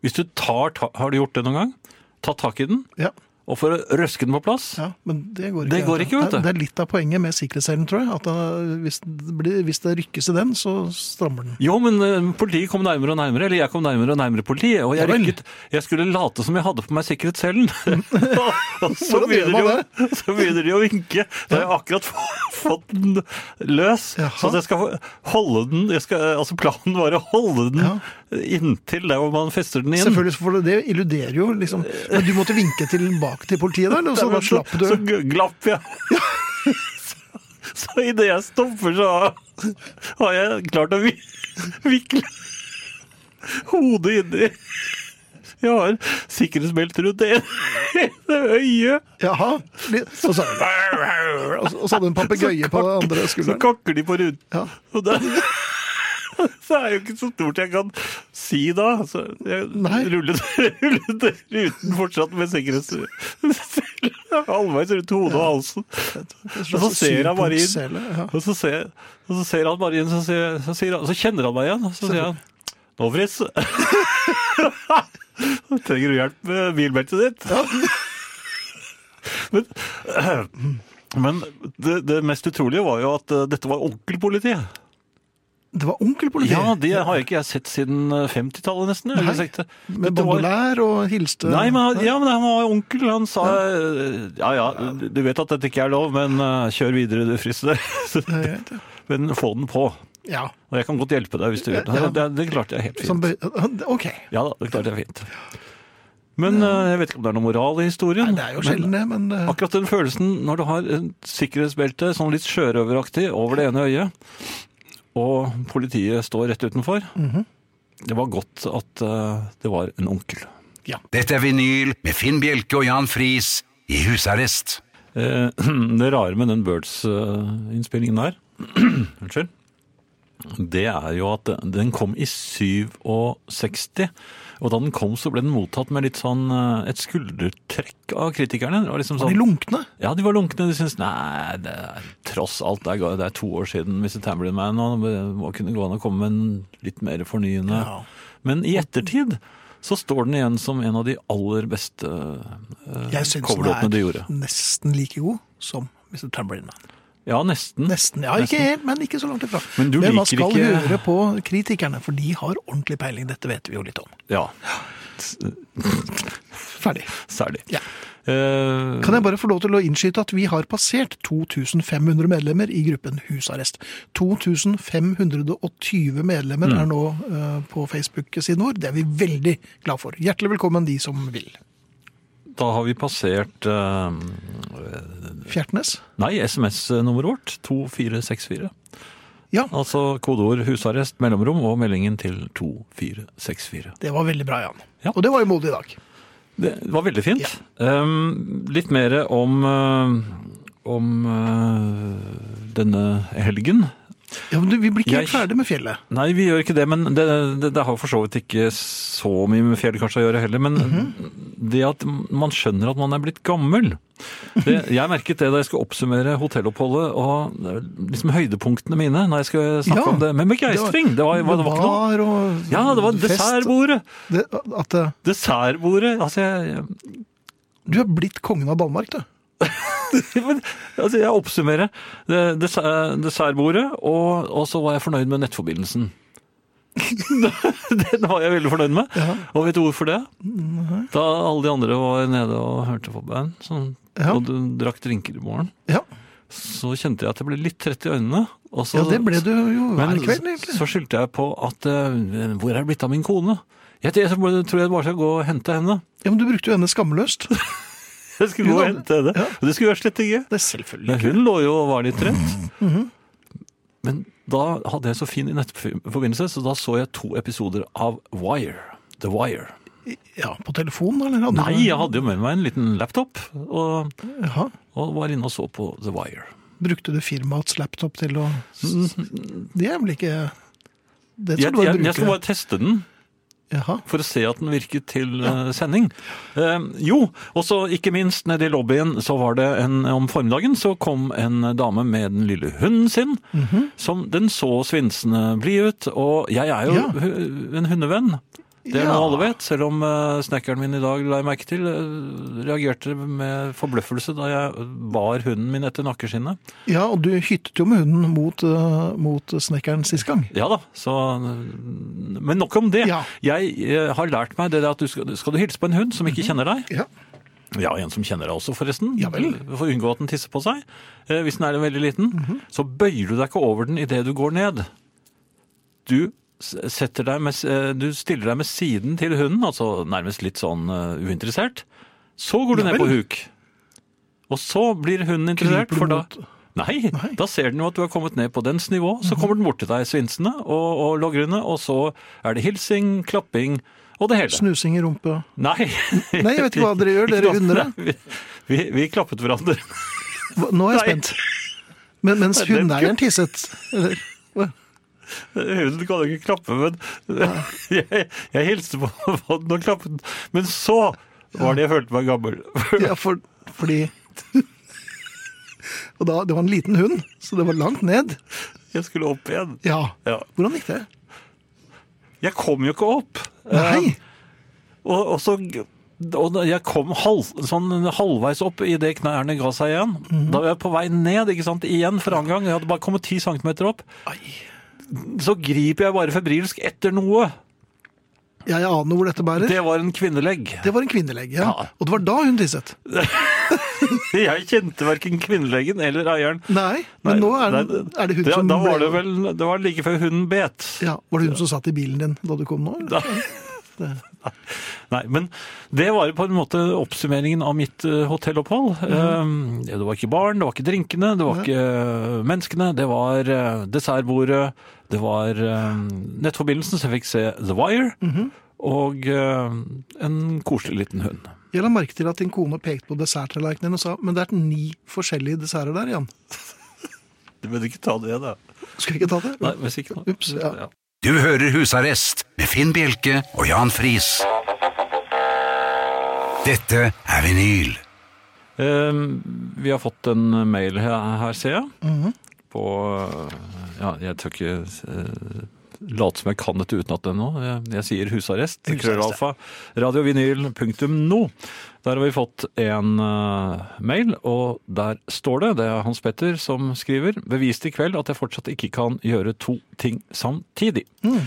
[SPEAKER 3] Hvis du tar ta, Har du gjort det noen gang? Ta tak i den,
[SPEAKER 2] Ja.
[SPEAKER 3] og for å røske den på plass.
[SPEAKER 2] ja men det går ikke.
[SPEAKER 3] Det går ikke, vet du.
[SPEAKER 2] Det er litt av poenget med sikkerhetsselen, tror jeg. At da, hvis, det blir, hvis det rykkes i den, så strammer den.
[SPEAKER 3] Jo, men eh, politiet kom nærmere og nærmere, eller jeg kom nærmere og nærmere politiet, og jeg
[SPEAKER 2] Ja vel.
[SPEAKER 3] rykket, jeg skulle late som jeg hadde på meg sikkerhetsselen. Og- og så,
[SPEAKER 2] Hvordan gjør
[SPEAKER 3] begynner de,
[SPEAKER 2] man
[SPEAKER 3] å- så begynner de å vinke, da har jeg akkurat få- fått den løs, så
[SPEAKER 2] Jaha.
[SPEAKER 3] jeg skal holde den, jeg skal, altså planen var å holde den
[SPEAKER 2] Ja.
[SPEAKER 3] inntil der hvor man fester den inn.
[SPEAKER 2] Selvfølgelig, for det illuderer jo liksom Men du måtte vinke tilbake til politiet der, eller? Så da slapp du
[SPEAKER 3] Så g- glapp jeg. Så- Så idet jeg stopper, så har jeg klart å vi- vikle hodet inni Jeg har sikkerhetsbelte rundt det ene øyet.
[SPEAKER 2] Jaha. litt- Og så, og så- og så hadde du en papegøye på den andre
[SPEAKER 3] Så
[SPEAKER 2] skulderen.
[SPEAKER 3] kakker de på ruten.
[SPEAKER 2] Ja.
[SPEAKER 3] Og det, det er jo ikke så stort jeg kan si da. Så jeg
[SPEAKER 2] Nei.
[SPEAKER 3] rullet, rullet ruten fortsatt med sikkerhetsbelte halvveis rundt hodet og halsen. Og så ser han bare inn.
[SPEAKER 2] Syvpunktssele, sånn ja.
[SPEAKER 3] Og så ser, og så ser han bare inn, så, sier- så, sier han, så kjenner han meg igjen. og Så sier han Nå, Fritz. Trenger du hjelp med bilbeltet ditt? Men, men det, det mest utrolige var jo at eh, dette var onkelpolitiet.
[SPEAKER 2] Det var onkel politi.
[SPEAKER 3] Ja, det har jeg ikke jeg sett siden eh, 50-tallet nesten. jeg vil
[SPEAKER 2] Nei,
[SPEAKER 3] si det.
[SPEAKER 2] Med
[SPEAKER 3] Dette var-
[SPEAKER 2] bandolær og hilste.
[SPEAKER 3] Nei, men, han- ja, men han var jo onkel. Han sa eh, Ja ja, du vet at dette ikke er lov, men eh, kjør videre, du fristede.
[SPEAKER 2] Det er greit, ja.
[SPEAKER 3] men få den på.
[SPEAKER 2] Ja.
[SPEAKER 3] Og jeg kan godt hjelpe deg hvis du vil. Det, det, det klarte jeg helt fint.
[SPEAKER 2] Som, bøy- ok.
[SPEAKER 3] Ja da, det klarte jeg fint. Men eh, jeg vet ikke om det er noe moral i historien.
[SPEAKER 2] Nei, det er jo sjelden det, men eh,
[SPEAKER 3] Akkurat den følelsen når du har en sikkerhetsbelte sånn litt sjørøveraktig over det ene øyet, og politiet står rett utenfor.
[SPEAKER 2] Mhm.
[SPEAKER 3] Det var godt at eh, det var en onkel.
[SPEAKER 1] Dette er vinyl med Finn Bjelke og Jan Friis i husarrest.
[SPEAKER 3] Eh, det rare med den Birds-innspillingen der, unnskyld, det er jo at den kom i 67, og da den kom så ble den mottatt med litt sånn eh, et skuldertrekk av kritikerne. Det var liksom
[SPEAKER 2] de
[SPEAKER 3] sånn,
[SPEAKER 2] lunkne.
[SPEAKER 3] Ja, de var lunkne. De syntes nei, det er, tross alt, det er, det er to år siden Mr. Tambourine Man, og det må kunne gå an å komme med en litt mer fornyende.
[SPEAKER 2] Ja.
[SPEAKER 3] Men i ettertid så står den igjen som en av de aller beste eh,
[SPEAKER 2] Jeg syns
[SPEAKER 3] coverlåtene
[SPEAKER 2] den
[SPEAKER 3] de
[SPEAKER 2] er
[SPEAKER 3] gjorde.
[SPEAKER 2] nesten like god som Mr. Tambourine Man.
[SPEAKER 3] Ja, nesten.
[SPEAKER 2] Nesten. Ja, ikke helt, men ikke så langt ifra.
[SPEAKER 3] Men du
[SPEAKER 2] man
[SPEAKER 3] liker
[SPEAKER 2] skal
[SPEAKER 3] ikke-
[SPEAKER 2] høre på kritikerne, for de har ordentlig peiling. Dette vet vi jo litt om.
[SPEAKER 3] Ja,
[SPEAKER 2] Ferdig.
[SPEAKER 3] særlig.
[SPEAKER 2] Ja.
[SPEAKER 3] Eh,
[SPEAKER 2] Kan jeg bare få lov til å innskyte at vi har passert 2500 medlemmer i gruppen Husarrest. 2520 medlemmer
[SPEAKER 3] Mm.
[SPEAKER 2] er nå eh, på Facebook-siden vår. Det er vi veldig glad for. Hjertelig velkommen de som vil.
[SPEAKER 3] da har vi passert eh,
[SPEAKER 2] Fjertnes?
[SPEAKER 3] Nei, SMS-nummeret vårt. 2464.
[SPEAKER 2] Ja,
[SPEAKER 3] Altså kodeord 'husarrest', mellomrom og meldingen til 2464.
[SPEAKER 2] det var veldig bra, Jan.
[SPEAKER 3] Ja.
[SPEAKER 2] Og det var jo modig i dag.
[SPEAKER 3] Det var veldig fint. Um, litt mer om, uh, om uh, denne helgen.
[SPEAKER 2] Ja, men du, vi blir ikke helt
[SPEAKER 3] Jeg-
[SPEAKER 2] ferdig med fjellet.
[SPEAKER 3] Nei, vi gjør ikke det, men det, det, det har for så vidt ikke så mye med fjell kanskje å gjøre heller. Men det at man skjønner at man er blitt gammel det, Jeg merket det da jeg skulle oppsummere hotelloppholdet og liksom høydepunktene mine. når jeg skulle snakke
[SPEAKER 2] Ja.
[SPEAKER 3] om det, Med begeistring! Det var, det var, det var ikke noe.
[SPEAKER 2] Bar og
[SPEAKER 3] Ja, det var
[SPEAKER 2] fest.
[SPEAKER 3] dessertbordet!
[SPEAKER 2] Det, at, eh,
[SPEAKER 3] Dessertbordet! Altså, jeg,
[SPEAKER 2] du er blitt kongen av Danmark, du.
[SPEAKER 3] Men, altså, jeg oppsummerer. Det- dessert- Dessertbordet, og, og så var jeg fornøyd med nettforbindelsen. Den var jeg veldig fornøyd med. Og vet du hvorfor det? Da alle de andre var nede og hørte på band, sånn,
[SPEAKER 2] Ja.
[SPEAKER 3] og du drakk drinker i morgen,
[SPEAKER 2] Ja,
[SPEAKER 3] så kjente jeg at jeg ble litt trett i øynene. Og så,
[SPEAKER 2] ja det ble du jo hver
[SPEAKER 3] men
[SPEAKER 2] kveld, egentlig.
[SPEAKER 3] så skyldte jeg på at eh, Hvor er det blitt av min kone? Jeg, jeg tror jeg bare skal gå og hente henne.
[SPEAKER 2] Ja, men du brukte jo henne skamløst.
[SPEAKER 3] Jeg skulle gå og hente henne.
[SPEAKER 2] Ja.
[SPEAKER 3] Og det skulle jeg slett ikke.
[SPEAKER 2] Det er selvfølgelig.
[SPEAKER 3] Men hun lå jo og var litt trett.
[SPEAKER 2] Mhm.
[SPEAKER 3] Men da hadde jeg så fin i nettforbindelse, så da så jeg to episoder av Wire. The Wire.
[SPEAKER 2] Ja, på telefon, eller? Hadde
[SPEAKER 3] Nei,
[SPEAKER 2] du-
[SPEAKER 3] jeg hadde jo med meg en liten laptop, og,
[SPEAKER 2] Jaha.
[SPEAKER 3] og var inne og så på The Wire.
[SPEAKER 2] Brukte du firmaets laptop til å
[SPEAKER 3] Mm.
[SPEAKER 2] Det er vel ikke Det
[SPEAKER 3] Jeg,
[SPEAKER 2] skal du bare
[SPEAKER 3] jeg, jeg skulle
[SPEAKER 2] bruke.
[SPEAKER 3] bare teste den
[SPEAKER 2] Jaha.
[SPEAKER 3] for å se at den virket til eh, sending. Eh, jo, og så ikke minst nede i lobbyen så var det en, om formiddagen så kom en dame med den lille hunden sin, som den så svinsende blid ut, og jeg er jo
[SPEAKER 2] Ja.
[SPEAKER 3] hu- en hundevenn. Det er
[SPEAKER 2] Ja.
[SPEAKER 3] noe alle vet, selv om eh, snekkeren min i dag la jeg merke til, eh, reagerte med forbløffelse da jeg bar hunden min etter nakkeskinnet.
[SPEAKER 2] Ja, og du hyttet jo med hunden mot, eh, mot snekkeren sist gang.
[SPEAKER 3] Ja da, så Men nok om det.
[SPEAKER 2] Ja.
[SPEAKER 3] Jeg eh, har lært meg det der at du skal, skal du hilse på en hund som ikke kjenner deg,
[SPEAKER 2] Ja.
[SPEAKER 3] Ja, en som kjenner deg også, forresten.
[SPEAKER 2] Ja vel.
[SPEAKER 3] For å unngå at den tisser på seg. Eh, hvis den er veldig liten,
[SPEAKER 2] Mhm.
[SPEAKER 3] så bøyer du deg ikke over den idet du går ned. Du s- setter deg med, s- eh, du stiller deg med siden til hunden, altså nærmest litt sånn eh, uinteressert. Så går du
[SPEAKER 2] Ja
[SPEAKER 3] ned på
[SPEAKER 2] vel.
[SPEAKER 3] huk. Og så blir hunden
[SPEAKER 2] Kryper
[SPEAKER 3] interessert,
[SPEAKER 2] du
[SPEAKER 3] for da
[SPEAKER 2] mot-
[SPEAKER 3] Nei,
[SPEAKER 2] Nei. Mhm.
[SPEAKER 3] da ser den jo at du har kommet ned på dens nivå. Så kommer den bort til deg svinsende og, og logrende, og så er det hilsing, klapping og det hele.
[SPEAKER 2] Snusing i rumpe.
[SPEAKER 3] Nei.
[SPEAKER 2] Nei, jeg vet ikke hva dere gjør, dere hunder det.
[SPEAKER 3] Vi, vi, vi klappet hverandre.
[SPEAKER 2] Hva- Nå er jeg
[SPEAKER 3] Nei.
[SPEAKER 2] spent. Men, mens
[SPEAKER 3] Nei, den-
[SPEAKER 2] hundeeieren tisset. Eller?
[SPEAKER 3] Hunden kan jo ikke klappe, men jeg, jeg hilste på den og klappet den. Men så var det jeg følte meg gammel.
[SPEAKER 2] Ja, for, fordi Og da, det var en liten hund, så det var langt ned.
[SPEAKER 3] Jeg skulle opp igjen.
[SPEAKER 2] Ja.
[SPEAKER 3] Ja.
[SPEAKER 2] Hvordan gikk det?
[SPEAKER 3] Jeg kom jo ikke opp. Eh,
[SPEAKER 2] Nei!
[SPEAKER 3] Og, og så og da jeg kom halv, sånn halvveis opp idet knærne ga seg
[SPEAKER 2] Mhm.
[SPEAKER 3] igjen. Da var jeg på vei ned ikke sant? igjen for annen gang. Jeg hadde bare kommet ti centimeter opp.
[SPEAKER 2] Ai.
[SPEAKER 3] så griper jeg bare febrilsk etter noe.
[SPEAKER 2] Jeg aner hvor dette bærer.
[SPEAKER 3] Det var en kvinnelegg.
[SPEAKER 2] Det var en kvinnelegg, ja.
[SPEAKER 3] Ja.
[SPEAKER 2] Og det var da hun tisset.
[SPEAKER 3] Jeg kjente verken kvinneleggen eller eieren.
[SPEAKER 2] Nei, men nå er,
[SPEAKER 3] Nei,
[SPEAKER 2] det- er det hun
[SPEAKER 3] da,
[SPEAKER 2] som
[SPEAKER 3] Da var
[SPEAKER 2] ble-
[SPEAKER 3] det vel det var like før hunden bet.
[SPEAKER 2] Ja, Var det hun som satt i bilen din da du kom nå? eller?
[SPEAKER 3] Da. Nei, men det var på en måte oppsummeringen av mitt eh, hotellopphold.
[SPEAKER 2] Mhm.
[SPEAKER 3] Eh, Det var ikke baren, det var ikke drinkene, det var ikke eh, menneskene, det var eh, dessertbordet, det var eh, nettforbindelsen, så jeg fikk se The Wire,
[SPEAKER 2] Mhm.
[SPEAKER 3] og eh, en koselig liten hund.
[SPEAKER 2] Jeg la merke til at din kone pekte på desserttallerkenen din og sa men det er ni forskjellige desserter der, Jan.
[SPEAKER 3] Du burde ikke ta det, da.
[SPEAKER 2] Skal vi ikke ta det?
[SPEAKER 3] Nei, hvis ikke nå.
[SPEAKER 2] Ups, ja.
[SPEAKER 1] Du hører Husarrest med Finn Bjelke og Jan Friis. Dette er vinyl.
[SPEAKER 3] Eh, vi har fått en mail her, her ser jeg.
[SPEAKER 2] Mhm.
[SPEAKER 3] På eh, Ja, jeg tør ikke eh, late som jeg kan dette utenat ennå. Jeg, jeg sier husarrest. Krøllalfa. Radiovinyl.no. Der har vi fått en eh, mail, og der står det, det er Hans Petter som skriver, beviste i kveld at jeg fortsatt ikke kan gjøre to ting samtidig.
[SPEAKER 2] Mhm.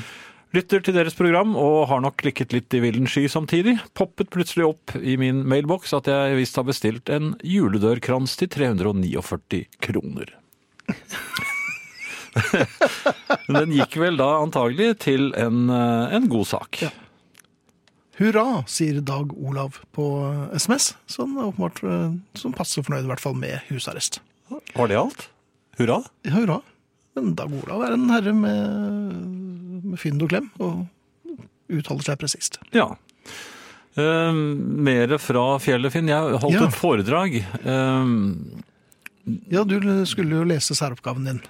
[SPEAKER 3] Lytter til deres program og har nok klikket litt i villen sky samtidig. Poppet plutselig opp i min mailboks at jeg visst har bestilt en juledørkrans til 349 kroner. Den gikk vel da antagelig til en, eh, en god sak.
[SPEAKER 2] Hurra, sier Dag Olav på eh, SMS, som åpenbart eh, som passer fornøyd i hvert fall med husarrest.
[SPEAKER 3] Var det alt? Hurra.
[SPEAKER 2] Ja, hurra. Men Dag Olav er en herre med, med fynd og klem, og uttaler seg presist.
[SPEAKER 3] Ja. Uh, Mere fra fjellet, Finn. Jeg holdt
[SPEAKER 2] Ja.
[SPEAKER 3] et foredrag. Ehm,
[SPEAKER 2] Ja, du skulle jo lese særoppgaven din.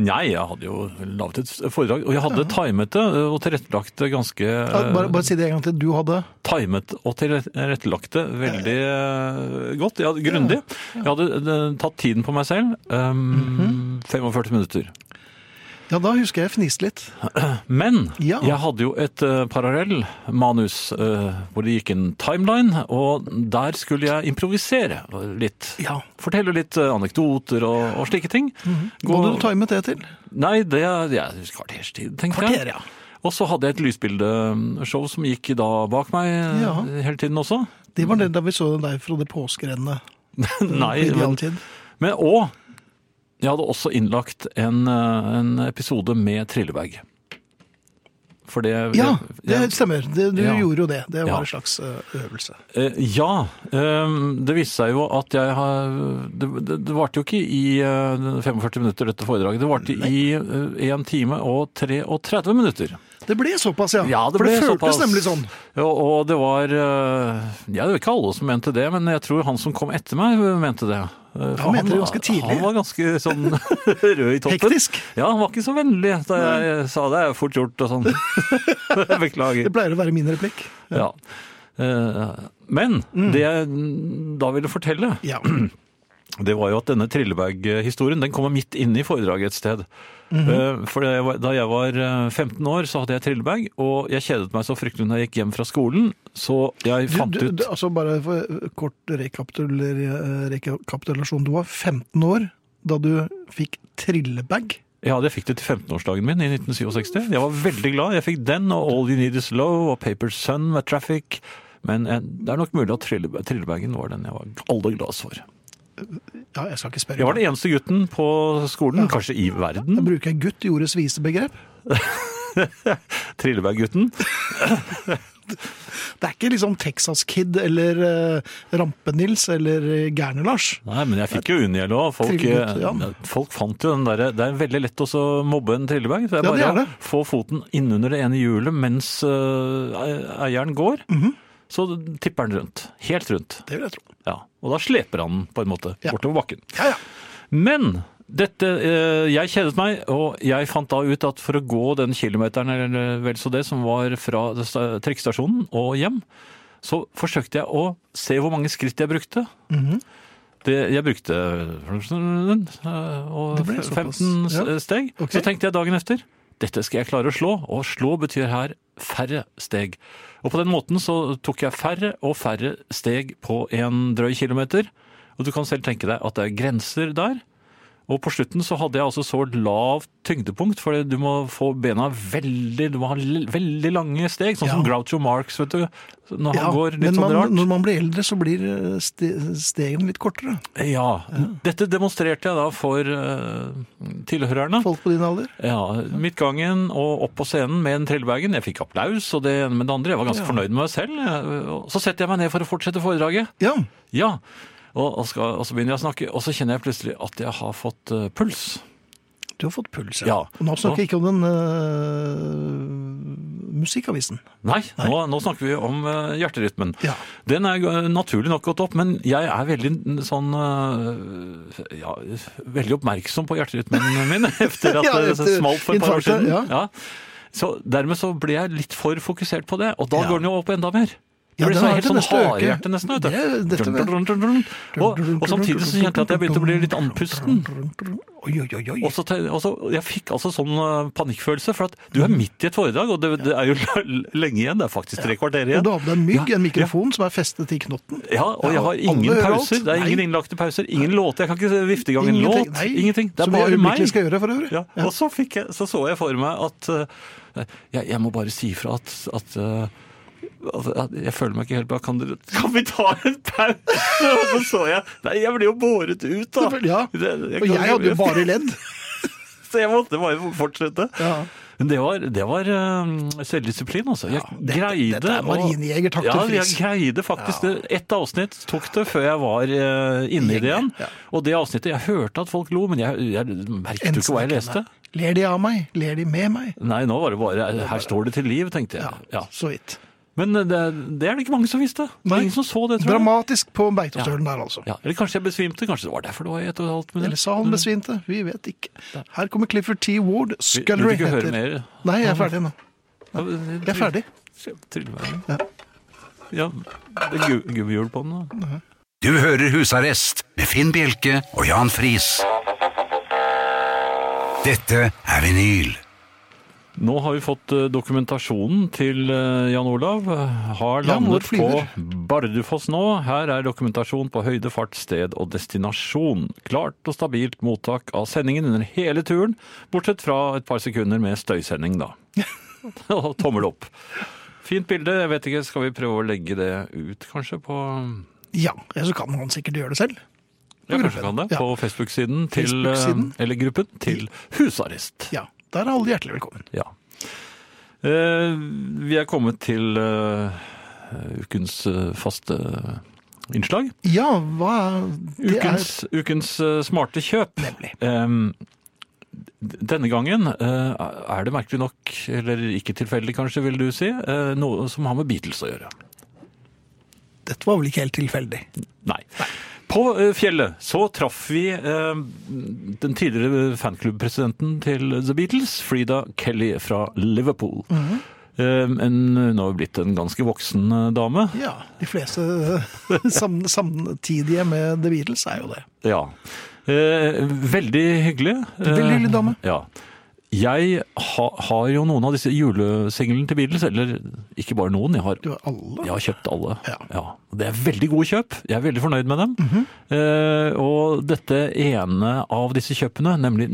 [SPEAKER 3] Nei, jeg hadde jo laget et foredrag, og jeg hadde timet det og tilrettelagt det ganske
[SPEAKER 2] Ja, Bare, bare si det en gang til. Du hadde
[SPEAKER 3] timet og tilrettelagt det veldig eh, godt. Jeg hadde, grundig. Jeg hadde eh, tatt tiden på meg selv.
[SPEAKER 2] Mhm.
[SPEAKER 3] Um, 45 minutter.
[SPEAKER 2] Ja, da husker jeg fniste litt.
[SPEAKER 3] Men
[SPEAKER 2] Ja.
[SPEAKER 3] jeg hadde jo et uh, parallellmanus eh, hvor det gikk en timeline, og der skulle jeg improvisere litt.
[SPEAKER 2] Ja.
[SPEAKER 3] Fortelle litt eh, anekdoter og, og slike ting.
[SPEAKER 2] Hva hadde
[SPEAKER 3] Gå-
[SPEAKER 2] Mhm. du timet det til?
[SPEAKER 3] Nei, det jeg husker kvarterstid, tenkte
[SPEAKER 2] Kvarter,
[SPEAKER 3] jeg.
[SPEAKER 2] ja.
[SPEAKER 3] Og så hadde jeg et lysbildeshow som gikk da bak meg eh,
[SPEAKER 2] Ja.
[SPEAKER 3] hele tiden også.
[SPEAKER 2] Det var det da vi så deg fra det påskerennet.
[SPEAKER 3] Nei, men,
[SPEAKER 2] men...
[SPEAKER 3] men og jeg hadde også innlagt en, eh, en episode med trillebag. For det
[SPEAKER 2] Ja,
[SPEAKER 3] jeg-
[SPEAKER 2] det stemmer. Det, du
[SPEAKER 3] Ja.
[SPEAKER 2] gjorde jo det. Det var
[SPEAKER 3] Ja.
[SPEAKER 2] en slags eh, øvelse.
[SPEAKER 3] Eh, ja. ehm, det viste seg jo at jeg har Det, det, det varte jo ikke i eh, 45 minutter, dette foredraget. Det varte i eh, 1 time og 33 minutter.
[SPEAKER 2] Det ble såpass, ja.
[SPEAKER 3] Ja, det
[SPEAKER 2] For
[SPEAKER 3] ble
[SPEAKER 2] det føltes
[SPEAKER 3] såpass.
[SPEAKER 2] nemlig sånn.
[SPEAKER 3] Ja, og det var eh, Ja, det var ikke alle som mente det, men jeg tror han som kom etter meg, mente det. Eh, for
[SPEAKER 2] mente det ganske tidlig.
[SPEAKER 3] Han var ganske sånn rød i toppen.
[SPEAKER 2] Hektisk.
[SPEAKER 3] Ja, han var ikke så vennlig da jeg sa det er fort gjort og sånn. Beklager.
[SPEAKER 2] Det pleier å være min replikk.
[SPEAKER 3] Ja. Eh, Men det jeg da ville fortelle,
[SPEAKER 2] Ja.
[SPEAKER 3] det var jo at denne Trillebag-historien den kommer midt inne i foredraget et sted. Eh, For da jeg var- da jeg var eh, 15 år, så hadde jeg Trillebag, og jeg kjedet meg så fryktelig når jeg gikk hjem fra skolen, så jeg
[SPEAKER 2] Du,
[SPEAKER 3] fant
[SPEAKER 2] du,
[SPEAKER 3] ut
[SPEAKER 2] du, altså bare for eh, kort rekapituler- eh, rekapitulasjon. Du var 15 år da du fikk trillebag.
[SPEAKER 3] Ja, jeg fikk det til 15-årsdagen min i 1967. Jeg var veldig glad. Jeg fikk den og All You Need Is Low og Paper Sun med Traffic. Men eh, det er nok mulig at Trille- Trillebagen var den jeg var aller gladest for.
[SPEAKER 2] Ja, jeg skal ikke spørre.
[SPEAKER 3] Jeg var den eneste gutten på skolen, kanskje i verden.
[SPEAKER 2] Da bruker jeg gutt i ordets vise begrep.
[SPEAKER 3] Trillebag-gutten.
[SPEAKER 2] Det er ikke liksom Texas Kid eller eh, Rampe-Nils eller eh, Gærne-Lars.
[SPEAKER 3] Nei, men jeg fikk jo unngjeld òg. Folk,
[SPEAKER 2] Trillegutt, ja.
[SPEAKER 3] eh, folk fant jo den derre Det er veldig lett også å mobbe en trillebag. Det
[SPEAKER 2] Ja,
[SPEAKER 3] er bare
[SPEAKER 2] det er
[SPEAKER 3] å
[SPEAKER 2] det.
[SPEAKER 3] få foten innunder det ene hjulet mens eh, eieren går.
[SPEAKER 2] Mhm.
[SPEAKER 3] Så tipper den rundt. Helt rundt.
[SPEAKER 2] Det vil jeg tro.
[SPEAKER 3] Ja, og da sleper han den på en måte
[SPEAKER 2] Ja.
[SPEAKER 3] bortover bakken.
[SPEAKER 2] Ja, ja.
[SPEAKER 3] Men dette, eh, jeg kjedet meg, og jeg fant da ut at for å gå den kilometeren eller vel så det, som var fra sta- trikkestasjonen og hjem, så forsøkte jeg å se hvor mange skritt jeg brukte.
[SPEAKER 2] Mhm.
[SPEAKER 3] det, jeg brukte eh, og
[SPEAKER 2] Det ble såpass,
[SPEAKER 3] 15 s-
[SPEAKER 2] ja.
[SPEAKER 3] steg.
[SPEAKER 2] Ok.
[SPEAKER 3] Så tenkte jeg dagen etter dette skal jeg klare å slå, og slå betyr her færre steg. Og på den måten så tok jeg færre og færre steg på en drøy kilometer. Og du kan selv tenke deg at det er grenser der. Og på slutten så hadde jeg altså så lavt tyngdepunkt, for du må få bena veldig Du må ha l- veldig lange steg, sånn som
[SPEAKER 2] Ja.
[SPEAKER 3] Groucho Marx, vet du. Når han
[SPEAKER 2] Ja,
[SPEAKER 3] går litt
[SPEAKER 2] men man,
[SPEAKER 3] sånn rart.
[SPEAKER 2] når man blir eldre, så blir eh, ste, stegene litt kortere.
[SPEAKER 3] Ja. Dette demonstrerte jeg da for eh, tilhørerne.
[SPEAKER 2] Folk på din alder.
[SPEAKER 3] Ja, Midtgangen og opp på scenen med en trillebagen. Jeg fikk applaus og det ene med det andre. Jeg var ganske fornøyd med meg selv. Jeg- og Så setter jeg meg ned for å fortsette foredraget.
[SPEAKER 2] Ja.
[SPEAKER 3] Ja, og, og, skal, og så begynner jeg å snakke, og så kjenner jeg plutselig at jeg har fått eh, puls.
[SPEAKER 2] Du har fått puls,
[SPEAKER 3] Ja.
[SPEAKER 2] Og Nå snakker
[SPEAKER 3] Og-
[SPEAKER 2] jeg ikke om den eh, musikkavisen.
[SPEAKER 3] Nei, Nå, nå snakker vi om eh, hjerterytmen.
[SPEAKER 2] Ja.
[SPEAKER 3] Den er eh, naturlig nok gått opp, men jeg er veldig n- sånn eh, ja, veldig oppmerksom på hjerterytmen min etter at
[SPEAKER 2] Ja,
[SPEAKER 3] det
[SPEAKER 2] etter
[SPEAKER 3] smalt for et par år
[SPEAKER 2] infarktet,
[SPEAKER 3] siden.
[SPEAKER 2] ja.
[SPEAKER 3] Så dermed så blir jeg litt for fokusert på det, og da
[SPEAKER 2] Ja.
[SPEAKER 3] går den jo opp enda mer. Det
[SPEAKER 2] Ja,
[SPEAKER 3] blir
[SPEAKER 2] den
[SPEAKER 3] sånn
[SPEAKER 2] er
[SPEAKER 3] helt
[SPEAKER 2] til
[SPEAKER 3] sånn
[SPEAKER 2] neste øke.
[SPEAKER 3] harehjerte nesten. Vet du.
[SPEAKER 2] Det er dette med-
[SPEAKER 3] Dun, dun, dun, dun. Og, og samtidig så kjente jeg at jeg begynte å bli litt andpusten.
[SPEAKER 2] Oi, oi, oi, oi.
[SPEAKER 3] Og så, te- og så, jeg fikk altså sånn eh, panikkfølelse, for at du er midt i et foredrag, og det, det er jo l- lenge igjen, det er faktisk tre kvarter
[SPEAKER 2] Og
[SPEAKER 3] igjen.
[SPEAKER 2] du har med deg en mygg,
[SPEAKER 3] Ja,
[SPEAKER 2] en mikrofon som er festet i knotten.
[SPEAKER 3] Ja, og jeg har
[SPEAKER 2] Ja, alle
[SPEAKER 3] ingen
[SPEAKER 2] hører alt.
[SPEAKER 3] pauser, det er ingen
[SPEAKER 2] Nei.
[SPEAKER 3] innlagte pauser, ingen låter, jeg kan ikke vifte i gang en
[SPEAKER 2] Ingenting,
[SPEAKER 3] låt,
[SPEAKER 2] nei.
[SPEAKER 3] ingenting. Det er
[SPEAKER 2] Som vi
[SPEAKER 3] bare meg.
[SPEAKER 2] øyeblikkelig skal gjøre for øvrig.
[SPEAKER 3] Ja, og så, fikk jeg, så så jeg for meg at eh, jeg, jeg må bare si fra at, at eh, at- at jeg føler meg ikke helt bra. Kan, dere, kan vi ta en pause? Og så så jeg Nei, jeg ble jo båret ut, da.
[SPEAKER 2] Selvfølgelig, ja.
[SPEAKER 3] Det-
[SPEAKER 2] Og
[SPEAKER 3] kan
[SPEAKER 2] jeg hadde jo bare ledd.
[SPEAKER 3] Så jeg måtte bare fortsette.
[SPEAKER 2] Ja.
[SPEAKER 3] Men det var, det var eh, selvdisiplin, altså. Jeg
[SPEAKER 2] dette-
[SPEAKER 3] greide
[SPEAKER 2] dette er
[SPEAKER 3] å-
[SPEAKER 2] marinejegertakter,
[SPEAKER 3] Ja, jeg
[SPEAKER 2] Friis.
[SPEAKER 3] greide faktisk det. Ett avsnitt tok det før jeg var eh, inne i det igjen.
[SPEAKER 2] Gjengen, ja.
[SPEAKER 3] Og det avsnittet Jeg hørte at folk lo, men jeg, jeg merket jo ikke hva jeg leste.
[SPEAKER 2] Ler de av meg? Ler de med meg?
[SPEAKER 3] Nei, nå var det bare Her står det til liv, tenkte jeg. Ja.
[SPEAKER 2] Så vidt.
[SPEAKER 3] Men det, det er det ikke mange som visste. Det
[SPEAKER 2] Nei.
[SPEAKER 3] er ingen som så det, tror jeg.
[SPEAKER 2] Dramatisk på Beitostølen der, altså.
[SPEAKER 3] Ja, eller kanskje jeg besvimte. Kanskje det var derfor det var i ett og et halvt minutt.
[SPEAKER 2] Eller sa han besvimte? Vi vet ikke. Her kommer Clifford T. Ward.
[SPEAKER 3] Vil vil du
[SPEAKER 2] Scullery
[SPEAKER 3] ikke
[SPEAKER 2] heter
[SPEAKER 3] høre mer?
[SPEAKER 2] Nei, jeg er ferdig nå.
[SPEAKER 3] Jeg
[SPEAKER 2] Jeg er ferdig.
[SPEAKER 3] Ja. ja. Det er gu- gummihjul på den, da.
[SPEAKER 1] Du hører Husarrest med Finn Bjelke og Jan Friis. Dette er vinyl.
[SPEAKER 3] Nå har vi fått eh, dokumentasjonen til eh, Jan Olav. Har
[SPEAKER 2] Ja, hvor
[SPEAKER 3] landet på
[SPEAKER 2] flyver?
[SPEAKER 3] Bardufoss nå. Her er dokumentasjon på høyde, fart, sted og destinasjon. Klart og stabilt mottak av sendingen under hele turen, bortsett fra et par sekunder med støysending, da. Og tommel opp. Fint bilde. jeg vet ikke, Skal vi prøve å legge det ut, kanskje? på...
[SPEAKER 2] Ja, ja, så kan han sikkert gjøre det selv.
[SPEAKER 3] Ja, kanskje
[SPEAKER 2] gruppen,
[SPEAKER 3] kan det.
[SPEAKER 2] ja.
[SPEAKER 3] På Facebook-siden til eh,
[SPEAKER 2] Facebook-siden.
[SPEAKER 3] Eller gruppen til husarrest.
[SPEAKER 2] Ja, Der er alle hjertelig velkommen.
[SPEAKER 3] Ja. Eh, vi er kommet til eh, ukens eh, faste eh, innslag.
[SPEAKER 2] Ja, hva er det er-
[SPEAKER 3] Ukens, ukens eh, smarte kjøp.
[SPEAKER 2] Nemlig.
[SPEAKER 3] Eh, d- denne gangen eh, er det merkelig nok, eller ikke tilfeldig kanskje, vil du si, eh, noe som har med Beatles å gjøre.
[SPEAKER 2] Dette var vel ikke helt tilfeldig.
[SPEAKER 3] Nei. På eh, fjellet så traff vi eh, den tidligere fanklubbpresidenten til The Beatles, Frida Kelly fra Liverpool.
[SPEAKER 2] Mhm.
[SPEAKER 3] Eh, en, hun har jo blitt en ganske voksen eh, dame.
[SPEAKER 2] Ja, De fleste eh, sam, samtidige med The Beatles er jo det.
[SPEAKER 3] Ja. Eh, veldig hyggelig.
[SPEAKER 2] Veldig hyggelig dame.
[SPEAKER 3] Eh, ja. Jeg ha, har jo noen av disse julesinglene til Beatles, eller ikke bare noen, jeg har
[SPEAKER 2] Du har alle.
[SPEAKER 3] Jeg har kjøpt alle.
[SPEAKER 2] Ja. Mhm.
[SPEAKER 3] Og Det er veldig gode kjøp. Jeg er veldig fornøyd med dem. Eh, og dette ene av disse kjøpene, nemlig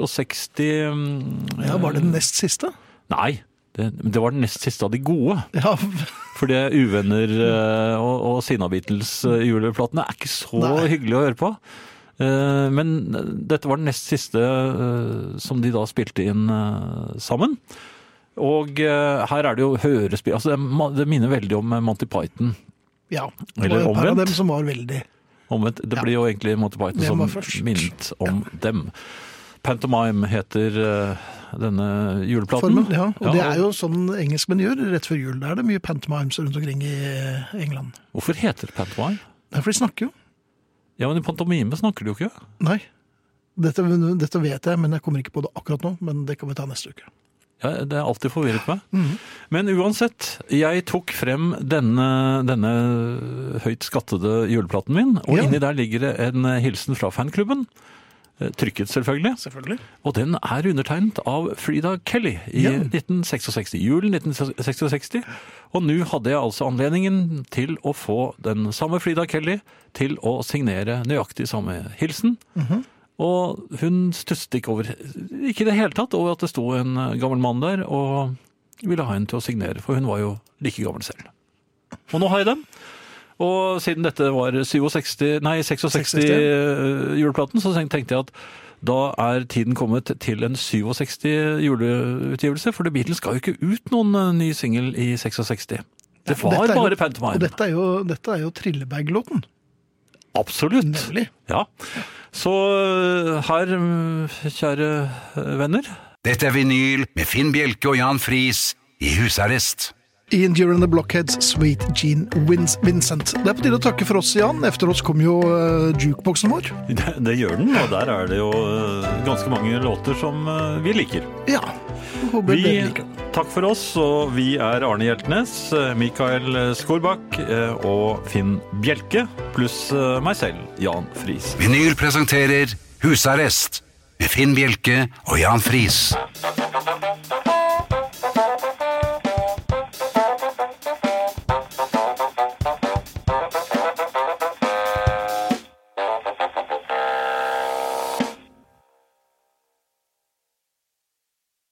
[SPEAKER 3] 1966 mm,
[SPEAKER 2] Ja, Var det den nest siste?
[SPEAKER 3] Nei, det, det var den nest siste av de gode.
[SPEAKER 2] Ja,
[SPEAKER 3] For det Uvenner eh, og, og Sina Beatles-juleplatene er ikke så
[SPEAKER 2] Nei.
[SPEAKER 3] hyggelig å høre på. Eh, Men dette var den nest siste eh, som de da spilte inn eh, sammen. Og eh, her er det jo hørespill altså det, ma- det minner veldig om eh, Monty Python.
[SPEAKER 2] ja. Det var
[SPEAKER 3] Eller
[SPEAKER 2] et par av
[SPEAKER 3] omvendt.
[SPEAKER 2] dem som var veldig
[SPEAKER 3] Omvendt. Det blir jo egentlig Monty Python
[SPEAKER 2] Hvem
[SPEAKER 3] som
[SPEAKER 2] var først?
[SPEAKER 3] minnet om dem. Pantomime heter eh, denne juleplaten.
[SPEAKER 2] formen. Ja. Og det er jo sånn engelskmenn gjør rett før jul. Da er det mye pantomimes rundt omkring i eh, England.
[SPEAKER 3] Hvorfor heter det pantomime?
[SPEAKER 2] Det er for de snakker jo.
[SPEAKER 3] Ja, men i pantomime snakker de jo ikke.
[SPEAKER 2] Nei. Dette, dette vet jeg, men jeg kommer ikke på det akkurat nå. Men det kan vi ta neste uke.
[SPEAKER 3] Ja, det har alltid forvirret meg.
[SPEAKER 2] Mhm.
[SPEAKER 3] Men uansett, jeg tok frem denne, denne høyt skattede juleplaten min, og
[SPEAKER 2] Ja.
[SPEAKER 3] inni der ligger det en hilsen fra fanklubben. eh, Trykket, selvfølgelig.
[SPEAKER 2] Selvfølgelig.
[SPEAKER 3] Og den er undertegnet av Frida Kelly i
[SPEAKER 2] Ja.
[SPEAKER 3] 1966, julen 1966. Og nå hadde jeg altså anledningen til å få den samme Frida Kelly til å signere nøyaktig samme hilsen. Og hun stusset ikke over ikke i det hele tatt over at det sto en eh, gammel mann der og ville ha henne til å signere, for hun var jo like gammel selv. Og nå har jeg dem. Og siden dette var 67, nei, 66
[SPEAKER 2] 66,
[SPEAKER 3] eh, juleplaten, så tenkte jeg at da er tiden kommet til en 67 juleutgivelse, for The Beatles ga jo ikke ut noen eh, ny singel i 66. Det
[SPEAKER 2] Og
[SPEAKER 3] var
[SPEAKER 2] dette er jo-
[SPEAKER 3] bare
[SPEAKER 2] Og
[SPEAKER 3] Pantomime.
[SPEAKER 2] dette er jo, dette er jo Trillebag-låten.
[SPEAKER 3] Absolutt.
[SPEAKER 2] Nemlig.
[SPEAKER 3] Ja. Så eh, her, mm, kjære eh, venner,
[SPEAKER 1] Dette er vinyl med Finn Bjelke og Jan Friis i husarrest.
[SPEAKER 2] Ian Duran the Blockheads, Sweet Jean Wins Vincent. Det er på tide å takke for oss, Jan. Efter oss kom jo eh, jukeboksen vår.
[SPEAKER 3] Det, det gjør den, og der er det jo eh, ganske mange låter som eh, vi liker.
[SPEAKER 2] Ja. Håper
[SPEAKER 3] Vi,
[SPEAKER 2] dere liker den.
[SPEAKER 3] takk for oss, og vi er Arne Hjeltnes, eh, Mikael Skorbakk eh, og Finn Bjelke, pluss eh, meg selv, Jan Friis.
[SPEAKER 1] Vinyl presenterer Husarrest med Finn Bjelke og Jan Friis.